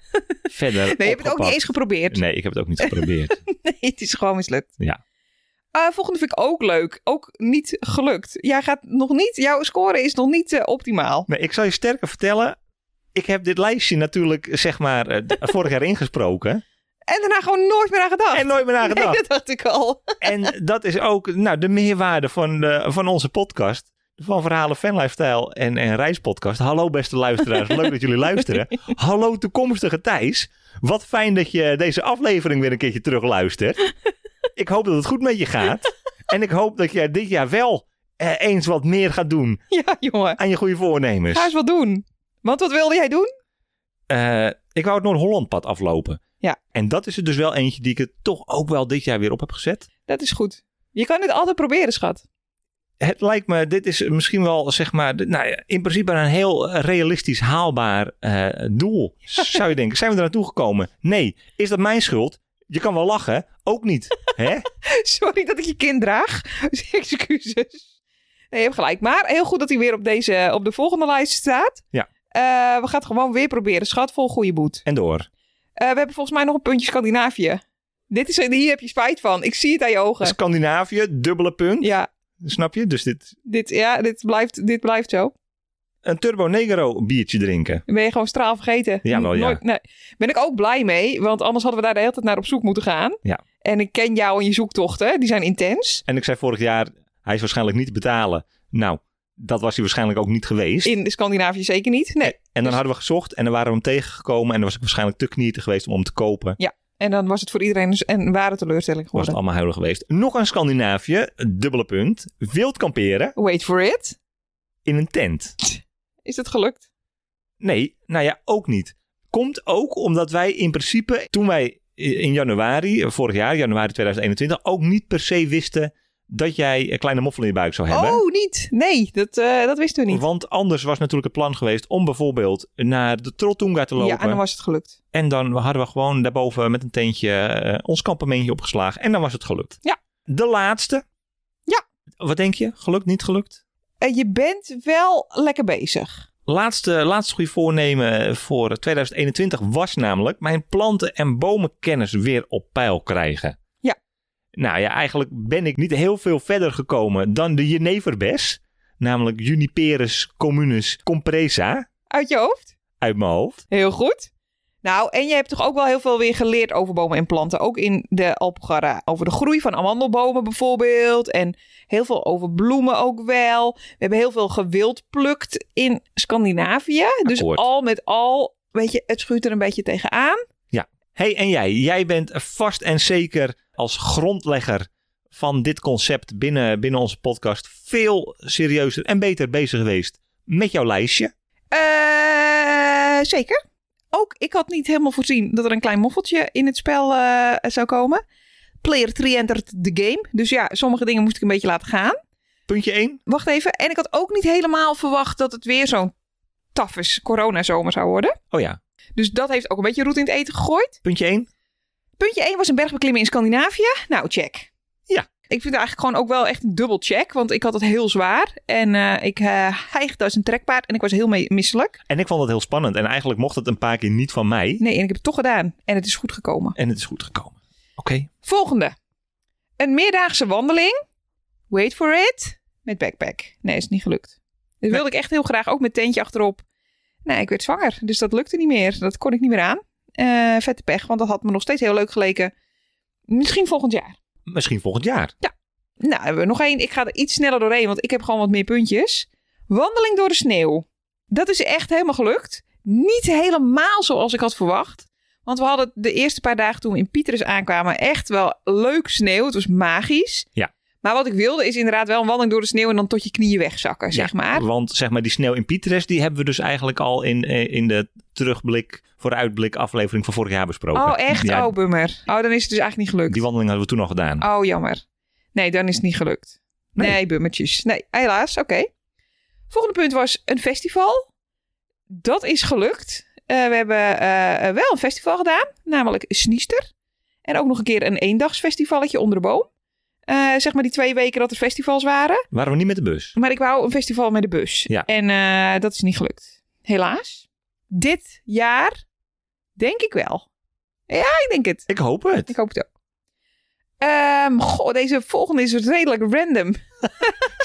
verder.
Nee, je hebt het ook niet eens geprobeerd.
Nee, ik heb het ook niet geprobeerd.
Nee, het is gewoon mislukt.
Ja.
Eh, volgende vind ik ook leuk. Ook niet gelukt. Jij gaat nog niet, jouw score is nog niet eh, optimaal.
nee, ik zal je sterker vertellen. Ik heb dit lijstje natuurlijk, zeg maar, eh, d- vorig jaar ingesproken.
En daarna gewoon nooit meer aan gedacht.
En nooit meer nagedacht.
Nee, dat dacht ik al.
En dat is ook nou, de meerwaarde van, eh, van onze podcast. Van Verhalen Fan Lifestyle en, en Reispodcast. Hallo beste luisteraars, leuk dat jullie luisteren. Hallo toekomstige Thijs. Wat fijn dat je deze aflevering weer een keertje terugluistert. Ik hoop dat het goed met je gaat. En ik hoop dat jij dit jaar wel eh, eens wat meer gaat doen
Ja, jongen.
aan je goede voornemens.
Ga eens wat doen. Want wat wilde jij doen?
Eh, ik wou het Noord-Holland-pad aflopen.
Ja.
En dat is er dus wel eentje die ik er toch ook wel dit jaar weer op heb gezet.
Dat is goed. Je kan het altijd proberen, schat.
het lijkt me, dit is misschien wel zeg maar, dit- nou, ja, in principe een heel realistisch haalbaar eh, doel. Zou je denken, zijn we er naartoe gekomen? Nee. Is dat mijn schuld? Je kan wel lachen, ook niet. Hè?
Sorry dat ik je kind draag. Excuses. Nee, je hebt gelijk. Maar heel goed dat hij weer op, deze, op de volgende lijst staat.
Ja.
Eh, we gaan het gewoon weer proberen, schat. Vol goede boet.
En door.
Eh, we hebben volgens mij nog een puntje Scandinavië. Dit is, hier heb je spijt van. Ik zie het aan je ogen.
Scandinavië, dubbele punt.
Ja,
Snap je? Dus dit,
dit, ja dit, blijft, dit blijft zo.
een Turbo Negro biertje drinken.
Dan ben je gewoon straal vergeten.
Jawel, ja.
nee. Ben ik ook blij mee, want anders hadden we daar de hele tijd naar op zoek moeten gaan.
Ja.
En ik ken jou en je zoektochten, die zijn intens.
En ik zei vorig jaar, hij is waarschijnlijk niet te betalen. Nou, dat was hij waarschijnlijk ook niet geweest.
In Scandinavië zeker niet. Nee.
en dan
dus-
hadden we gezocht en dan waren we hem tegengekomen. En dan was ik waarschijnlijk te knietig geweest om hem te kopen.
En dan was het voor iedereen dus een ware teleurstelling
was
geworden.
het allemaal huilen geweest. Nog een Scandinavië, dubbele punt. Wild kamperen
Wait for it.
in een tent.
Is dat gelukt?
Nee, nou ja, ook niet. Komt ook omdat wij in principe, toen wij in januari, vorig jaar, januari 2021, ook niet per se wisten dat jij een kleine moffel in je buik zou hebben.
Oh, niet. Nee, dat, eh, dat wisten we niet.
Want anders was natuurlijk het plan geweest om bijvoorbeeld naar de Trolltunga te lopen.
Ja, en dan was het gelukt.
En dan hadden we gewoon daarboven met een tentje eh, ons kampementje opgeslagen. En dan was het gelukt.
Ja.
De laatste.
Ja.
Wat denk je? Gelukt, niet gelukt?
Eh, je bent wel lekker bezig.
Laatste, laatste goede voornemen voor 2021 was namelijk mijn planten- en bomenkennis weer op peil krijgen.
Ja.
Nou ja, eigenlijk ben ik niet heel veel verder gekomen dan de jeneverbes. Namelijk Juniperus communis compresa
Uit je hoofd?
uit mijn hoofd.
Heel goed. Nou, en je hebt toch ook wel heel veel weer geleerd over bomen en planten. Ook in de Alpogara. Over de groei van amandelbomen bijvoorbeeld. En heel veel over bloemen ook wel. We hebben heel veel gewildplukt in Scandinavië. Dus
Akkoord.
al met al, weet je, het schuurt er een beetje tegenaan.
Ja. hey, en jij? Jij bent vast en zeker als grondlegger van dit concept binnen, binnen onze podcast veel serieuzer en beter bezig geweest met jouw lijstje.
Eh, zeker. Ook ik had niet helemaal voorzien dat er een klein moffeltje in het spel eh, zou komen. Player 3 entered the game. Dus ja, sommige dingen moest ik een beetje laten gaan.
Puntje 1.
Wacht even. En ik had ook niet helemaal verwacht dat het weer zo'n taffes coronazomer zou worden.
Oh ja,
Dus dat heeft ook een beetje roet in het eten gegooid.
puntje 1.
Puntje 1 was een berg beklimmen in Scandinavië. Nou, check.
Ja.
Ik vind het eigenlijk gewoon ook wel echt een dubbel check. Want ik had het heel zwaar. En eh, ik eh hijgde als een trekpaard. En ik was heel me- misselijk.
En ik vond dat heel spannend. En eigenlijk mocht het een paar keer niet van mij.
Nee, en ik heb het toch gedaan. En het is goed gekomen.
En het is goed gekomen. Oké.
Volgende. Een meerdaagse wandeling. Wait for it. Met backpack. Nee, is niet gelukt. Dat wilde ik echt heel graag. Ook met tentje achterop. Nee, ik werd zwanger. Dus dat lukte niet meer. Dat kon ik niet meer aan. Eh, vette pech, want dat had me nog steeds heel leuk geleken. Misschien volgend jaar.
Misschien volgend jaar.
Nou, hebben we nog één. Ik ga er iets sneller doorheen, want ik heb gewoon wat meer puntjes. Wandeling door de sneeuw. Dat is echt helemaal gelukt. Niet helemaal zoals ik had verwacht. Want we hadden de eerste paar dagen toen we in Pieterus aankwamen echt wel leuk sneeuw. Het was magisch.
Ja.
Maar wat ik wilde is inderdaad wel een wandeling door de sneeuw en dan tot je knieën wegzakken, zeg
Ja,
maar.
Want zeg maar, die sneeuw in Pietres, die hebben we dus eigenlijk al in, eh, in de terugblik, vooruitblik aflevering van vorig jaar besproken.
Oh, echt?
Ja,
Oh, bummer. Oh, dan is het dus eigenlijk niet gelukt.
Die wandeling hadden we toen al gedaan.
Oh, jammer. Nee, dan is het niet gelukt.
Nee.
Nee, bummetjes. Nee, helaas. Oké. Volgende punt was een festival. Dat is gelukt. Eh, we hebben eh, eh, wel een festival gedaan, namelijk Sniester. En ook nog een keer een eendagsfestivalletje onder de boom. Eh, zeg maar die twee weken dat er festivals waren.
Waren we niet met de bus?
Maar ik wou een festival met de bus.
Ja.
En eh, dat is niet gelukt. Helaas. Dit jaar denk ik wel. Ja, ik denk het.
Ik hoop het.
Ik hoop het ook. Ehm, goh, deze volgende is redelijk random.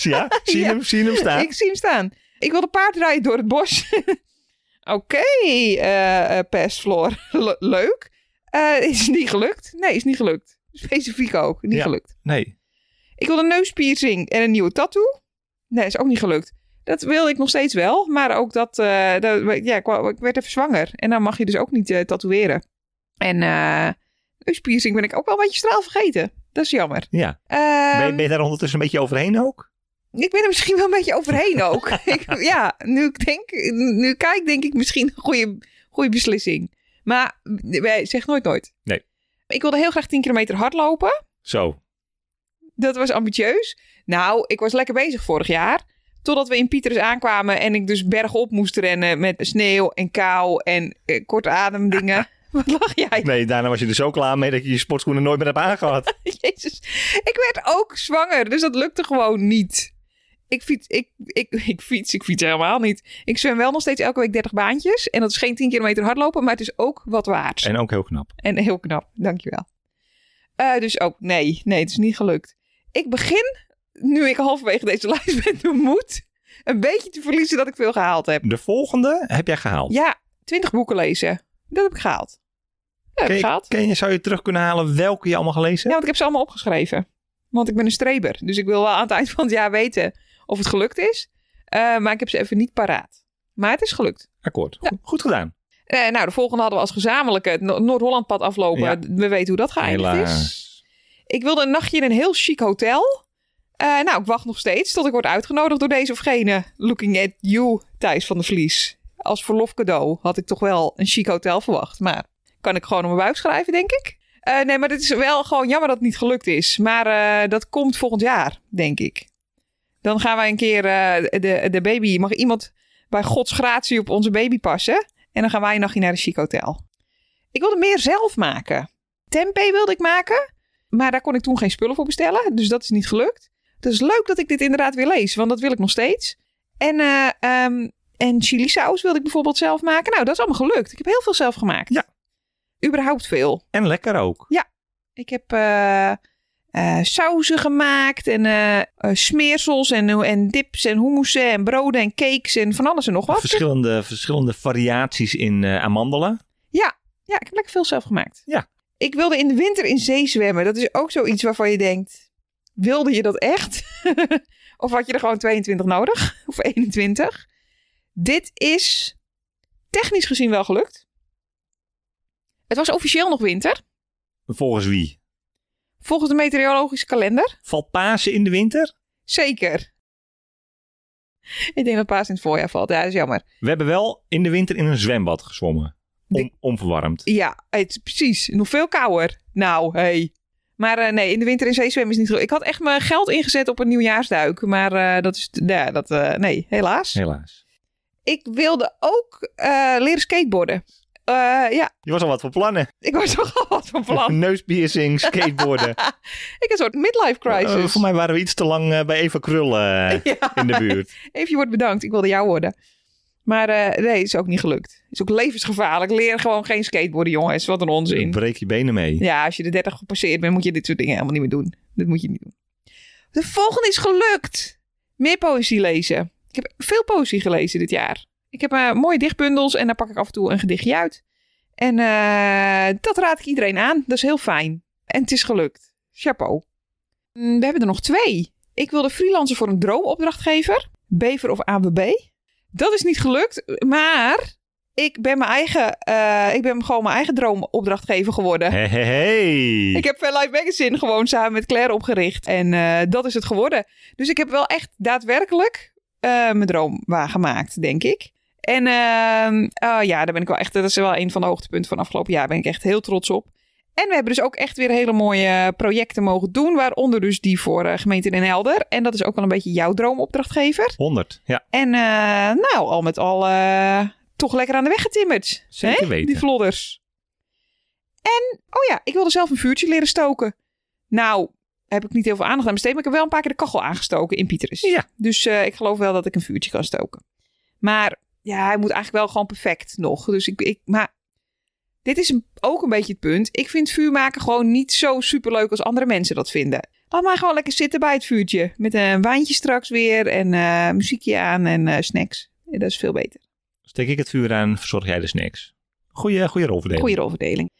Ja, zie je
Ja.
hem, zie je hem staan.
Ik zie hem staan. Ik wil een paard rijden door het bos. Oké, eh eh persfloor. Le- leuk. Eh, is niet gelukt. Nee, is niet gelukt. Specifiek ook. Niet
Ja.
gelukt.
Nee.
Ik wil een neuspiercing en een nieuwe tattoo. Nee, is ook niet gelukt. Dat wilde ik nog steeds wel, maar ook dat... eh, dat ja, ik, wou- ik werd even zwanger. En dan mag je dus ook niet eh, tatoeëren. En eh neuspiercing ben ik ook wel een beetje straal vergeten. Dat is jammer.
Ja.
Ehm,
ben, je, ben je daar ondertussen een beetje overheen ook?
Ik ben er misschien wel een beetje overheen ook. ik, ja, nu ik, denk, nu ik kijk, denk ik misschien een goede, goede beslissing. Maar eh, zeg nooit nooit.
Nee.
Ik wilde heel graag 10 kilometer hardlopen.
Zo.
Dat was ambitieus. Nou, ik was lekker bezig vorig jaar. Totdat we in Pieters aankwamen en ik dus bergop moest rennen met sneeuw en kou en eh, kortademdingen. Wat lach jij?
Nee, daarna was je er zo klaar mee dat je je sportschoenen nooit meer hebt aangehad.
Jezus. Ik werd ook zwanger, dus dat lukte gewoon niet. Ik fiets, ik, ik, ik fiets, ik fiets helemaal niet. Ik zwem wel nog steeds elke week 30 baantjes. En dat is geen 10 kilometer hardlopen, maar het is ook wat waard.
En ook heel knap.
En heel knap, dankjewel. Eh dus ook nee, nee, het is niet gelukt. Ik begin, nu ik halverwege deze lijst ben, de moed een beetje te verliezen dat ik veel gehaald heb.
De volgende heb jij gehaald.
Ja, 20 boeken lezen. Dat heb ik gehaald. Dat
Ken
heb ik
je-
gehaald.
ken je, zou je terug kunnen halen welke je allemaal gelezen hebt?
Ja, want ik heb ze allemaal opgeschreven. Want ik ben een streber. Dus ik wil wel aan het eind van het jaar weten of het gelukt is. Eh, maar ik heb ze even niet paraat. Maar het is gelukt.
Akkoord. Goed, goed gedaan.
Eh, nou, de volgende hadden we als gezamenlijke het Noord- Noord-Holland-pad aflopen.
Ja.
We weten hoe dat geëindigd is. Ik wilde een nachtje in een heel chic hotel. Eh, nou, ik wacht nog steeds tot ik word uitgenodigd door deze of gene. Looking at you, Thijs van de Vlies. Als verlofcadeau had ik toch wel een chic hotel verwacht. Maar kan ik gewoon op mijn buik schrijven, denk ik. Eh, nee, maar het is wel gewoon jammer dat het niet gelukt is. Maar eh, dat komt volgend jaar, denk ik. Dan gaan wij een keer eh, de, de baby... Mag iemand bij gods gratie op onze baby passen? En dan gaan wij een nachtje naar een chic hotel. Ik wilde meer zelf maken. Tempeh wilde ik maken. Maar daar kon ik toen geen spullen voor bestellen. Dus dat is niet gelukt. Het is leuk dat ik dit inderdaad weer lees, want dat wil ik nog steeds. En, eh ehm, en chili saus wilde ik bijvoorbeeld zelf maken. Nou, dat is allemaal gelukt. Ik heb heel veel zelf gemaakt.
Ja.
Überhaupt veel.
En lekker ook.
Ik heb eh, eh, sauzen gemaakt en eh, eh, smeersels en, en dips en hummusen en broden en cakes en van alles en nog wat.
Verschillende, verschillende variaties in eh, amandelen.
Ja, ik heb lekker veel zelf gemaakt.
Ja.
Ik wilde in de winter in zee zwemmen. Dat is ook zoiets waarvan je denkt, wilde je dat echt? of had je er gewoon 22 nodig? Of 21? Dit is technisch gezien wel gelukt. Het was officieel nog winter,
Volgens wie?
volgens de meteorologische kalender.
Valt Pasen in de winter?
Zeker. Ik denk dat paas in het voorjaar valt. Ja, dat is jammer.
We hebben wel in de winter in een zwembad gezwommen. On- onverwarmd.
Ja, het is precies. Nog veel kouder. Nou, hey. Maar eh, nee, in de winter in zee zwemmen is niet goed. Ik had echt mijn geld ingezet op een nieuwjaarsduik. Maar eh, dat is... Ja, dat, eh, nee, helaas.
Helaas.
Ik wilde ook eh, leren skateboarden. Eh, ja,
Je was al wat voor plannen.
ik was toch al wat van plan.
Neuspiercing, skateboarden.
Ik heb een soort midlife
Eh,
crisis.
voor mij waren we iets te lang eh, bij Eva Krul eh,
Ja.
in de buurt.
Even je wordt bedankt. Ik wilde jou worden. Maar eh, nee, is ook niet gelukt. Is ook levensgevaarlijk. Leer gewoon geen skateboarden, jongens. Wat een onzin.
Breek je benen mee.
Ja, als je de 30 gepasseerd bent, moet je dit soort dingen helemaal niet meer doen. Dat moet je niet doen. De volgende is gelukt. Meer poëzie lezen. Ik heb veel poëzie gelezen dit jaar. Ik heb eh, mooie dichtbundels en daar pak ik af en toe een gedichtje uit. En eh, dat raad ik iedereen aan. Dat is heel fijn. En het is gelukt. Chapeau. Mm, We hebben er nog twee. Ik wilde freelancen voor een droomopdrachtgever. Bever of ABB. Dat is niet gelukt, maar ik ben, mijn eigen, eh, ik ben gewoon mijn eigen droomopdrachtgever geworden.
Hey, hey, hey.
Ik heb Life Magazine gewoon samen met Claire opgericht. En eh, dat is het geworden. Dus ik heb wel echt daadwerkelijk eh, mijn droom waargemaakt, denk ik. En ehm, oh ja, daar ben ik wel echt. Dat is wel een van de hoogtepunten van afgelopen jaar. Daar ben ik echt heel trots op. En we hebben dus ook echt weer hele mooie projecten mogen doen. Waaronder dus die voor eh, gemeente Den Helder. En dat is ook wel een beetje jouw droomopdrachtgever.
100. Ja,
En eh, nou, al met al eh, toch lekker aan de weg getimmerd.
zeker
Die
weten.
vlodders. En, oh ja, ik wilde zelf een vuurtje leren stoken. Nou, heb ik niet heel veel aandacht aan besteed, maar ik heb wel een paar keer de kachel aangestoken in Pieterus.
Ja.
Dus eh, ik geloof wel dat ik een vuurtje kan stoken. Maar ja, hij moet eigenlijk wel gewoon perfect nog. Dus ik, ik maar dit is een- ook een beetje het punt. Ik vind vuur maken gewoon niet zo superleuk als andere mensen dat vinden. Laat maar gewoon lekker zitten bij het vuurtje. Met een wijntje straks weer en eh, muziekje aan en eh, snacks. Ja, dat is veel beter.
Steek ik het vuur aan, verzorg jij de snacks. Goeie, goeie rolverdeling.
Goede rolverdeling.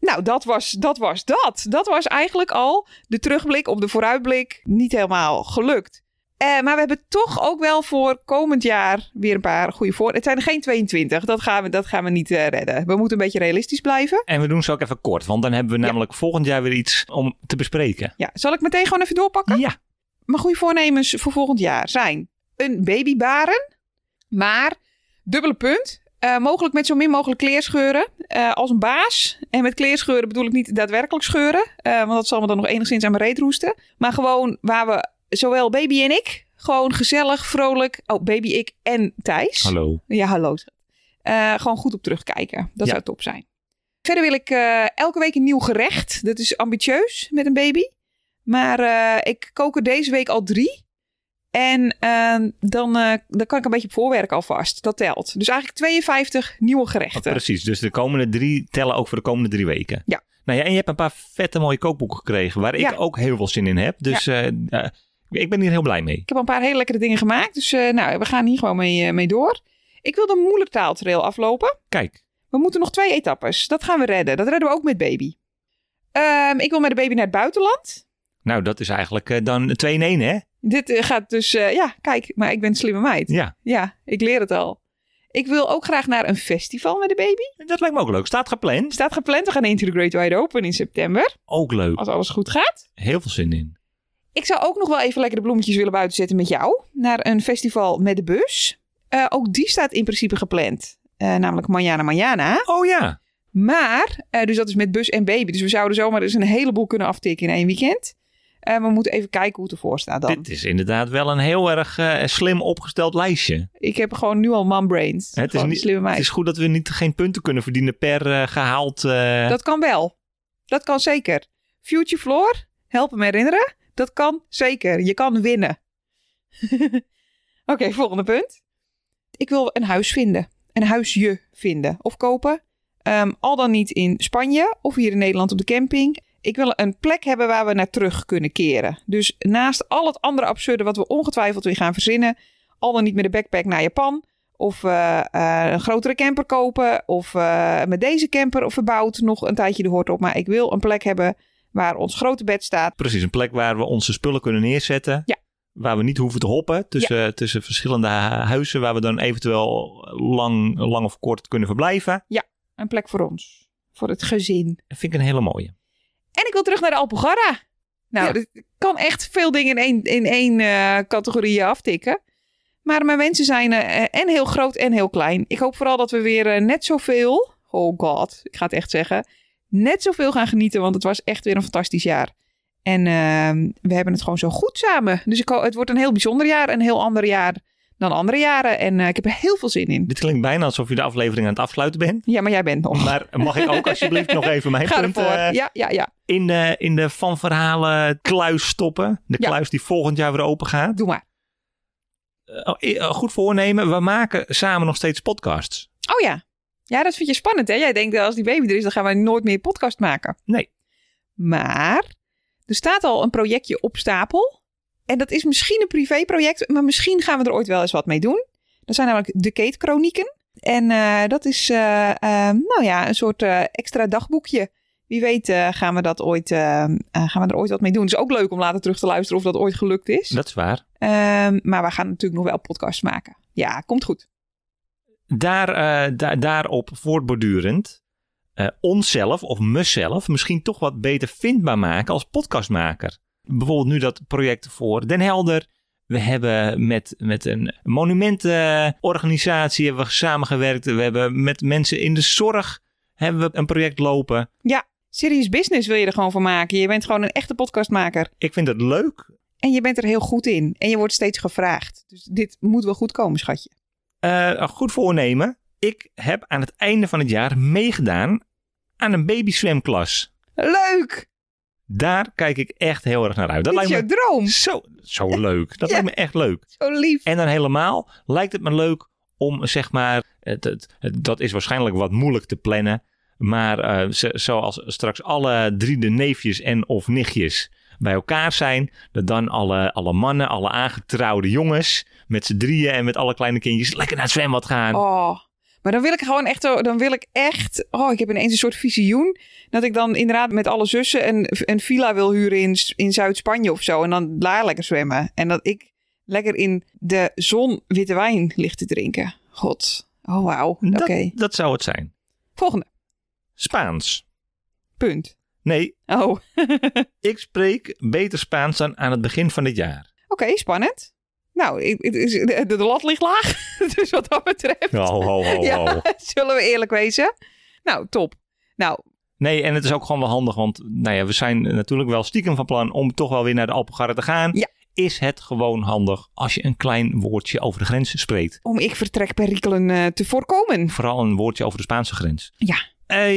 Nou, dat was, dat was dat. Dat was eigenlijk al de terugblik op de vooruitblik niet helemaal gelukt. Eh, maar we hebben toch ook wel voor komend jaar weer een paar goede voor. Het zijn er geen 22, dat gaan we, dat gaan we niet eh, redden. We moeten een beetje realistisch blijven.
En we doen ze ook even kort, want dan hebben we
Ja.
namelijk volgend jaar weer iets om te bespreken.
Ja, zal ik meteen gewoon even doorpakken?
Ja.
Mijn goede voornemens voor volgend jaar zijn een babybaren, maar dubbele punt. eh, mogelijk met zo min mogelijk kleerscheuren eh, als een baas. En met kleerscheuren bedoel ik niet daadwerkelijk scheuren, eh, want dat zal me dan nog enigszins aan mijn reet roesten. Maar gewoon waar we, zowel baby en ik, gewoon gezellig, vrolijk. Oh, baby, ik en Thijs.
Hallo.
Ja, hallo. schat. Eh, gewoon goed op terugkijken. Dat
Ja.
zou top zijn. Verder wil ik eh, elke week een nieuw gerecht. Dat is ambitieus met een baby. Maar eh, ik kook er deze week al drie. En eh, dan, eh, dan kan ik een beetje op voorwerk alvast. Dat telt. Dus eigenlijk 52 nieuwe gerechten.
Precies, dus de komende drie tellen ook voor de komende drie weken.
Ja.
Nou ja, en je hebt een paar vette mooie kookboeken gekregen waar ik
Ja.
ook heel veel zin in heb. Dus eh, eh, ik ben hier heel blij mee.
Ik heb al een paar hele lekkere dingen gemaakt. Dus eh, nou, we gaan hier gewoon mee, eh, mee door. Ik wil de moedertaaltrail aflopen.
Kijk,
We moeten nog twee etappes. Dat gaan we redden. Dat redden we ook met baby. Ehm, ik wil met de baby naar het buitenland.
nou dat is eigenlijk eh, dan 2 in 1 hè?
Dit eh, gaat dus, eh, ja, kijk, maar ik ben een slimme meid. Ja.
Ja,
ik leer het al. Ik wil ook graag naar een festival met de baby.
dat lijkt me ook leuk. Staat gepland.
Staat gepland, we gaan into the Great Wide Open in september,
Ook leuk.
als alles goed gaat.
Heel veel zin in.
Ik zou ook nog wel even lekker de bloemetjes willen buiten zetten met jou. Naar een festival met de bus. Eh, ook die staat in principe gepland. Eh, namelijk Manjana Manjana.
Oh ja,
Maar, eh, dus dat is met bus en baby. Dus we zouden zomaar eens een heleboel kunnen aftikken in één weekend. Eh, we moeten even kijken hoe het ervoor staat dan.
dit is inderdaad wel een heel erg eh, slim opgesteld lijstje.
Ik heb gewoon nu al man brains.
Het is
Gewoon een
niet-
slimme meid.
Het is goed dat we niet, geen punten kunnen verdienen per eh, gehaald. eh,
Dat kan wel. Dat kan zeker. Future Floor, help me herinneren. Dat kan zeker. Je kan winnen. Oké, volgende punt. Ik wil een huis vinden. Een huisje vinden of kopen. Ehm, al dan niet in Spanje of hier in Nederland op de camping. Ik wil een plek hebben waar we naar terug kunnen keren. Dus naast al het andere absurde wat we ongetwijfeld weer gaan verzinnen, al dan niet met de backpack naar Japan. Of eh, eh, een grotere camper kopen. Of eh, met deze camper verbouwd nog een tijdje de hoort op. Maar ik wil een plek hebben waar ons grote bed staat.
Precies, een plek waar we onze spullen kunnen neerzetten.
Ja.
Waar we niet hoeven te hoppen tussen, tussen verschillende hu- huizen. Waar we dan eventueel lang, lang of kort kunnen verblijven.
Een plek voor ons. Voor het gezin.
Dat vind ik een hele mooie.
En ik wil terug naar de Alpugarra. Nou,
Ja.
dat kan echt veel dingen in één, in één eh, categorie aftikken. Maar mijn wensen zijn eh, en heel groot en heel klein. Ik hoop vooral dat we weer eh, net zoveel... Oh god, ik ga het echt zeggen. Net zoveel gaan genieten, want het was echt weer een fantastisch jaar. En ehm, we hebben het gewoon zo goed samen. Dus ik, ho- het wordt een heel bijzonder jaar. Een heel ander jaar dan andere jaren. En eh, ik heb er heel veel zin in.
Dit klinkt bijna alsof je de aflevering aan het afsluiten bent.
Ja, maar jij bent nog.
Maar mag ik ook alsjeblieft nog even mijn
Oh. Ga
punt
ervoor.
eh,
ja, ja, ja.
in, de, in de van verhalen kluis stoppen? De
Ja.
kluis die volgend jaar weer open gaat.
Doe maar.
Eh, oh, eh, goed voornemen, we maken samen nog steeds podcasts.
Oh ja. Ja, dat vind je spannend, hè? Jij denkt, eh, als die baby er is, dan gaan wij nooit meer podcast maken.
Nee.
Maar er staat al een projectje op stapel. En dat is misschien een privéproject, maar misschien gaan we er ooit wel eens wat mee doen. Dat zijn namelijk de Kate Chronieken. En eh, dat is, eh, eh, nou ja, een soort eh, extra dagboekje. Wie weet eh, gaan, we dat ooit, eh, eh, gaan we er ooit wat mee doen. Het is ook leuk om later terug te luisteren of dat ooit gelukt is.
Dat is waar.
Ehm, maar we gaan natuurlijk nog wel podcasts maken. Ja, komt goed.
Daar, eh, da- daarop voortbordurend eh, onszelf of mezelf misschien toch wat beter vindbaar maken als podcastmaker. Bijvoorbeeld nu dat project voor Den Helder. We hebben met, met een monumentenorganisatie hebben we samengewerkt. We hebben met mensen in de zorg hebben we een project lopen.
Serious business wil je er gewoon van maken. Je bent gewoon een echte podcastmaker.
Ik vind dat leuk.
En je bent er heel goed in. En je wordt steeds gevraagd. Dus dit moet wel goed komen, schatje.
Eh, een goed voornemen. Ik heb aan het einde van het jaar meegedaan aan een babyzwemklas.
Leuk!
Daar kijk ik echt heel erg naar uit. Dat
dit is
lijkt me
jouw droom.
Zo, zo leuk. Dat
Ja.
lijkt me echt leuk.
Zo lief.
En dan helemaal lijkt het me leuk om zeg maar, het, het- het- dat is waarschijnlijk wat moeilijk te plannen. Maar eh, ze- zoals straks alle drie de neefjes en of nichtjes bij elkaar zijn. Dat dan alle, alle mannen, alle aangetrouwde jongens met z'n drieën en met alle kleine kindjes lekker naar het zwembad gaan.
Oh. Maar dan wil ik gewoon echt, zo- dan wil ik echt, oh, ik heb ineens een soort visioen. Dat ik dan inderdaad met alle zussen een, een villa wil huren in, in Zuid-Spanje of zo. En dan daar lekker zwemmen. En dat ik lekker in de zon witte wijn lig te drinken. God. Oh, wauw. Oké.
dat, dat zou het zijn.
Volgende.
Spaans.
Punt.
Nee,
Oh. Oké,
ik spreek beter Spaans dan aan het begin van dit jaar.
spannend. Nou, ik- het is- de, de lat ligt laag. Dus wat dat betreft.
Ho, ho, ho,
Ja.
ho.
Zullen we eerlijk wezen? Nou, top. Nou,
Nee, en het is ook gewoon wel handig, want nou ja, we zijn natuurlijk wel stiekem van plan om toch wel weer naar de Alpengarde te gaan.
Ja.
Is het gewoon handig als je een klein woordje over de grens spreekt?
om ik vertrekperikelen eh, te voorkomen.
Vooral een woordje over de Spaanse grens.
Ja.
Hey,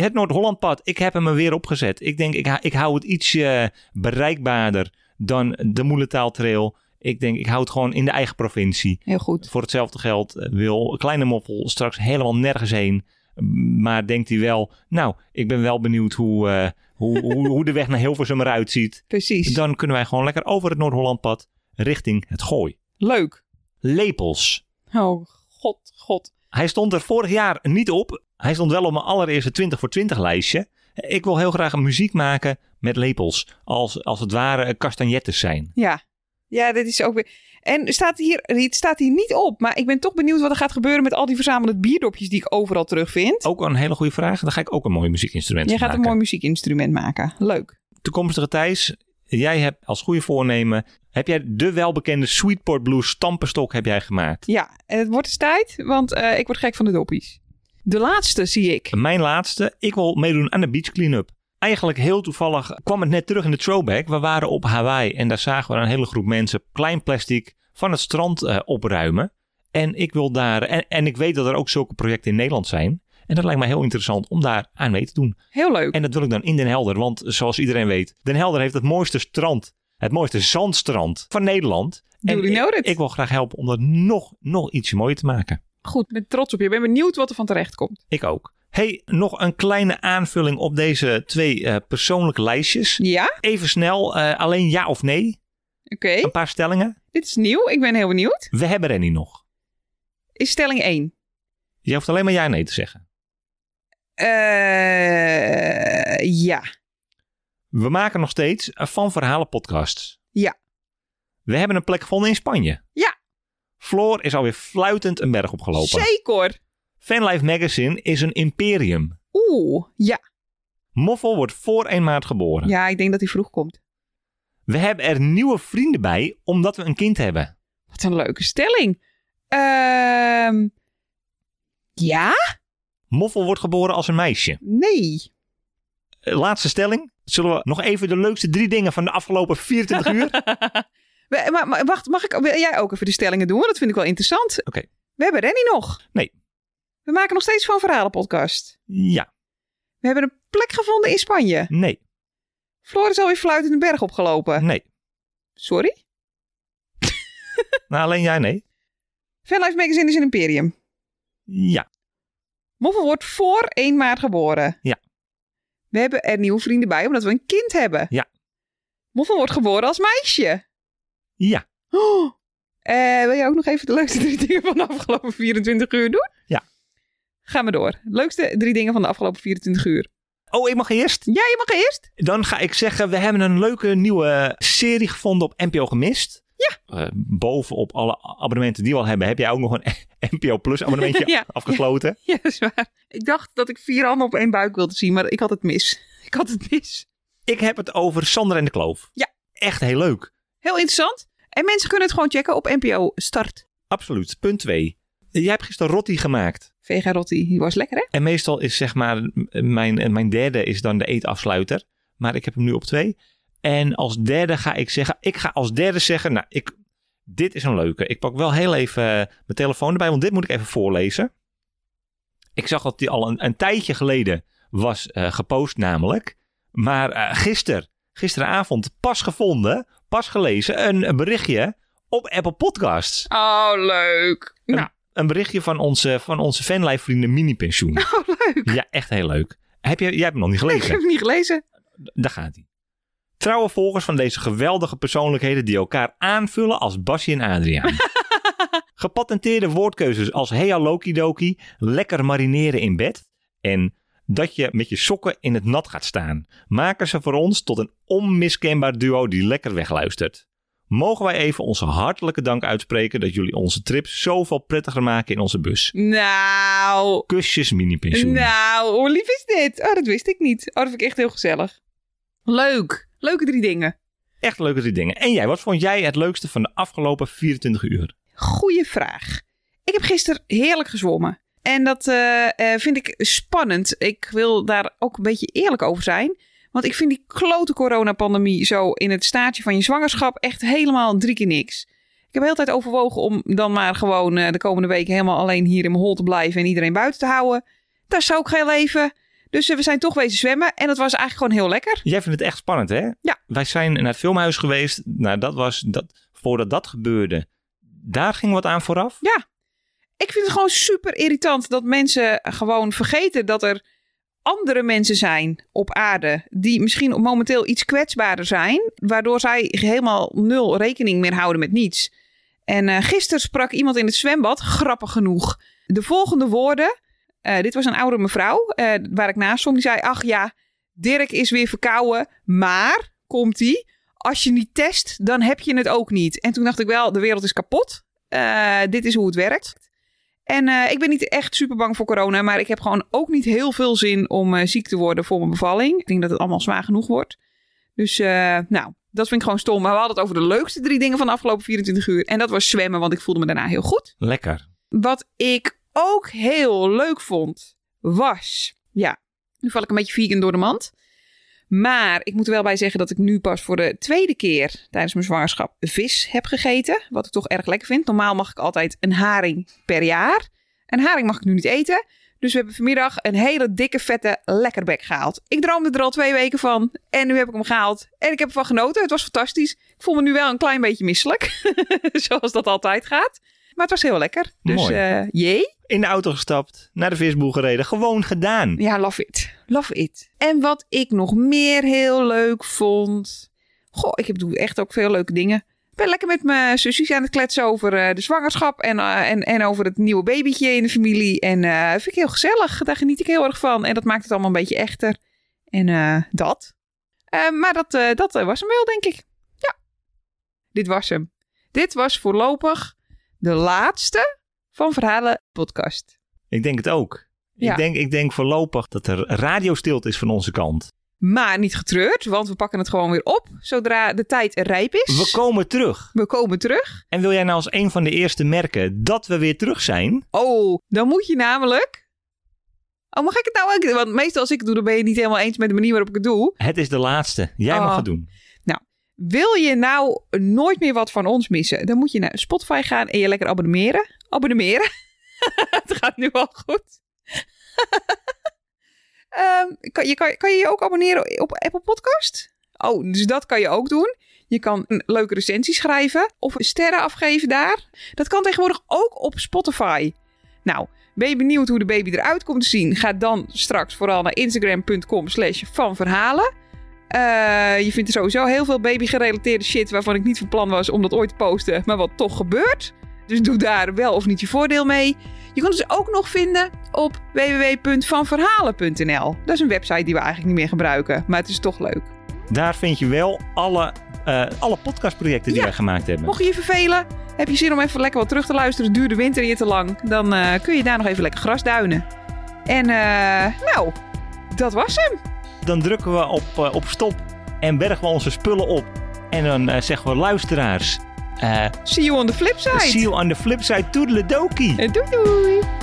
het Noord-Hollandpad, ik heb hem er weer opgezet. Ik denk, ik, ha- ik hou het iets eh, bereikbaarder dan de Moelentaaltrail. Ik denk, ik hou het gewoon in de eigen provincie.
Heel goed.
Voor hetzelfde geld eh, wil Kleine Moffel straks helemaal nergens heen. M, Maar denkt hij wel, nou, ik ben wel benieuwd hoe, eh, hoe, hoe, hoe de weg naar Hilversum eruit ziet.
Precies.
Dan kunnen wij gewoon lekker over het Noord-Hollandpad richting het Gooi.
Leuk.
Lepels.
Oh, god, god.
Hij stond er vorig jaar niet op. Hij stond wel op mijn allereerste 20 voor 20 lijstje. Ik wil heel graag een muziek maken met lepels. Als, als het ware eh, castagnettes zijn.
Ja. Ja, dit is ook weer... En staat hier, het staat hier niet op, maar ik ben toch benieuwd wat er gaat gebeuren met al die verzamelde bierdopjes die ik overal terugvind.
Ook een hele goede vraag. Dan ga ik ook een mooi muziekinstrument
Jij
maken.
gaat een mooi muziekinstrument maken. Leuk.
toekomstige Thijs, jij hebt als goede voornemen, heb jij de welbekende Sweetport Blues stamperstok heb jij gemaakt.
Ja, en het wordt eens tijd, want eh, ik word gek van de doppies. De laatste zie ik.
Mijn laatste, ik wil meedoen aan de beach cleanup. Eigenlijk heel toevallig kwam het net terug in de throwback. We waren op Hawaii en daar zagen we een hele groep mensen klein plastic van het strand eh, opruimen. En ik wil daar, en, en ik weet dat er ook zulke projecten in Nederland zijn. En dat lijkt mij heel interessant om daar aan mee te doen.
Heel leuk.
En dat wil ik dan in Den Helder, want zoals iedereen weet, Den Helder heeft het mooiste strand, het mooiste zandstrand van Nederland.
Duly
En ik-
noted.
Ik, wil graag helpen om dat nog, nog ietsje mooier te maken.
Goed, ik ben trots op je. Ik ben benieuwd wat er van terecht komt.
Ik ook. Hey, nog een kleine aanvulling op deze twee eh, persoonlijke lijstjes.
Ja,
Even snel, eh, alleen ja of nee.
oké.
Een paar stellingen.
Dit is nieuw. Ik ben heel benieuwd.
We hebben Rennie nog.
Is stelling 1.
Je hoeft alleen maar ja en nee te zeggen.
Eh, ja.
We maken nog steeds eh, van verhalen podcasts.
Ja.
We hebben een plek gevonden in Spanje.
Ja.
Floor is alweer fluitend een berg opgelopen.
Zeker.
Fanlife Magazine is een imperium.
Oeh, ja.
Moffel wordt voor 1 maart geboren.
Ja, ik denk dat hij vroeg komt.
We hebben er nieuwe vrienden bij omdat we een kind hebben.
Wat een leuke stelling. Ehm, ja?
Moffel wordt geboren als een meisje.
Nee.
Eh, Laatste stelling. Zullen we nog even de leukste drie dingen van de afgelopen 24 uur?
We- maar, maar wacht, mag ik, wil jij ook even de stellingen doen? Want dat vind ik wel interessant.
Oké.
We hebben Rennie nog.
Nee.
We maken nog steeds van verhalenpodcast.
Ja,
We hebben een plek gevonden in Spanje.
nee,
Floor is alweer fluitend de berg opgelopen.
nee.
Sorry?
Nou, alleen jij nee.
Fanlife Magazine is een imperium.
Ja,
Moffel wordt voor 1 maart geboren.
Ja.
We hebben er nieuwe vrienden bij omdat we een kind hebben.
Ja.
Moffel wordt geboren als meisje.
ja,
Oh. Eh, wil jij ook nog even de leukste drie dingen van de afgelopen 24 uur doen?
Ja.
Ga maar door. Leukste drie dingen van de afgelopen 24 uur.
Oh, ik mag eerst?
Ja, je mag eerst.
Dan ga ik zeggen, we hebben een leuke nieuwe serie gevonden op NPO Gemist. Ja. bovenop alle abonnementen die we al hebben, heb jij ook nog een NPO Plus abonnementje
Ja.
afgesloten.
Ja, dat is waar. Ik dacht dat ik vier handen op één buik wilde zien, maar ik had het mis. Ik had het mis.
Ik heb het over Sander en de Kloof.
Ja.
Echt heel leuk.
Heel interessant. En mensen kunnen het gewoon checken op NPO Start.
Absoluut. Punt 2. Jij hebt gisteren Rotti gemaakt.
Vega Rotti, die was lekker hè?
En meestal is zeg maar m- mijn, mijn derde is dan de eetafsluiter. Maar ik heb hem nu op twee. En als derde ga ik zeggen, ik ga als derde zeggen, nou, ik, dit is een leuke. Ik pak wel heel even eh, mijn telefoon erbij, want dit moet ik even voorlezen. Ik zag dat die al een, een tijdje geleden was eh, gepost namelijk. Maar eh gister, gisteravond pas gevonden, pas gelezen, een, een berichtje op Apple Podcasts.
Oh, leuk. Nou,
Een berichtje van onze, van onze fanlijfvrienden Mini Pensioen.
oh, leuk.
Ja, echt heel leuk. Heb je, jij hebt hem nog niet
Ik heb
gelezen.
het niet gelezen.
Daar gaat hij. Trouwe volgers van deze geweldige persoonlijkheden die elkaar aanvullen als Basje en Adriaan. Gepatenteerde woordkeuzes als hey Loki Doki, lekker marineren in bed en dat je met je sokken in het nat gaat staan, maken ze voor ons tot een onmiskenbaar duo die lekker wegluistert. Mogen wij even onze hartelijke dank uitspreken dat jullie onze trip zoveel prettiger maken in onze bus.
Nou,
Kusjes mini-pensioen.
nou, hoe lief is dit? Oh, dat wist ik niet. Oh, dat vind ik echt heel gezellig. Leuk. Leuke drie dingen.
Echt leuke drie dingen. En jij, wat vond jij het leukste van de afgelopen 24 uur?
Goeie vraag. Ik heb gisteren heerlijk gezwommen. En dat eh, eh, vind ik spannend. Ik wil daar ook een beetje eerlijk over zijn. Want ik vind die klote coronapandemie zo in het staatje van je zwangerschap echt helemaal drie keer niks. Ik heb de hele tijd overwogen om dan maar gewoon eh, de komende weken helemaal alleen hier in mijn hol te blijven en iedereen buiten te houden. Daar zou ik geen leven. Dus eh, we zijn toch wezen zwemmen en dat was eigenlijk gewoon heel lekker.
Jij vindt het echt spannend, hè?
Ja.
Wij zijn naar het filmhuis geweest. Nou, dat was, dat, voordat dat gebeurde, daar ging wat aan vooraf.
ik vind het gewoon super irritant dat mensen gewoon vergeten dat er andere mensen zijn op aarde die misschien momenteel iets kwetsbaarder zijn, waardoor zij helemaal nul rekening meer houden met niets. En eh gisteren sprak iemand in het zwembad, grappig genoeg, de volgende woorden. Eh, dit was een oude mevrouw eh, waar ik naast stond. Die zei: Ach ja, Dirk is weer verkouden, maar komt ie? Als je niet test, dan heb je het ook niet. En toen dacht ik wel: de wereld is kapot. Eh, dit is hoe het werkt. En eh, ik ben niet echt super bang voor corona, maar ik heb gewoon ook niet heel veel zin om eh, ziek te worden voor mijn bevalling. Ik denk dat het allemaal zwaar genoeg wordt. Dus eh, nou, dat vind ik gewoon stom. Maar we hadden het over de leukste drie dingen van de afgelopen 24 uur. En dat was zwemmen, want ik voelde me daarna heel goed.
Lekker.
Wat ik ook heel leuk vond, was. Ja, nu val ik een beetje vegan door de mand. Maar ik moet er wel bij zeggen dat ik nu pas voor de tweede keer tijdens mijn zwangerschap vis heb gegeten. Wat ik toch erg lekker vind. Normaal mag ik altijd een haring per jaar. Een haring mag ik nu niet eten. Dus we hebben vanmiddag een hele dikke, vette lekkerbek gehaald. Ik droomde er al twee weken van. En nu heb ik hem gehaald. En ik heb ervan genoten. Het was fantastisch. Ik voel me nu wel een klein beetje misselijk. Zoals dat altijd gaat. Maar het was heel lekker. Dus
Mooi.
eh jee.
In de auto gestapt, naar de visboer gereden. Gewoon gedaan.
Ja, love it. Love it. En wat ik nog meer heel leuk vond. Goh, ik heb, doe echt ook veel leuke dingen. Ik ben lekker met mijn zusjes aan het kletsen over eh, de zwangerschap en, eh, en, en over het nieuwe babytje in de familie. En eh vind ik heel gezellig. Daar geniet ik heel erg van. En dat maakt het allemaal een beetje echter. En eh, dat. Eh, maar dat, eh, dat eh, was hem wel, denk ik. Ja, dit was hem. Dit was voorlopig de laatste van Verhalen Podcast.
Ik denk het ook.
Ja.
Ik, denk, ik denk voorlopig dat er radiostilte is van onze kant.
Maar niet getreurd, want we pakken het gewoon weer op zodra de tijd rijp is.
We komen terug.
we komen terug.
En wil jij nou als een van de eerste merken dat we weer terug zijn?
Oh, dan moet je namelijk. Oh, mag ik het nou ook? Want meestal als ik het doe, dan ben je het niet helemaal eens met de manier waarop ik het doe.
Het is de laatste. Jij
Oh.
mag het doen.
Wil je nou nooit meer wat van ons missen? Dan moet je naar Spotify gaan en je lekker abonneren. Abonneren. het gaat nu al goed. Ehm, kan, je, kan, kan je je ook abonneren op Apple Podcast? Oh, dus dat kan je ook doen. Je kan een leuke recensie schrijven of sterren afgeven daar. Dat kan tegenwoordig ook op Spotify. Nou, ben je benieuwd hoe de baby eruit komt te zien? Ga dan straks vooral naar instagram.com slash van verhalen. Eh, je vindt er sowieso heel veel baby-gerelateerde shit waarvan ik niet van plan was om dat ooit te posten, maar wat toch gebeurt. Dus doe daar wel of niet je voordeel mee. Je kunt ons ook nog vinden op www.vanverhalen.nl. Dat is een website die we eigenlijk niet meer gebruiken, maar het is toch leuk.
Daar vind je wel alle, eh, alle podcastprojecten die
Ja.
wij gemaakt hebben.
Mocht je je vervelen, heb je zin om even lekker wat terug te luisteren, duur de winter hier te lang, dan eh, kun je daar nog even lekker grasduinen. En eh, nou, dat was hem.
Dan drukken we op, eh, op stop en bergen we onze spullen op. En dan eh, zeggen we luisteraars, eh
See you on the flip
see
side.
you on the flip side, toedeledokie.
En doei doei.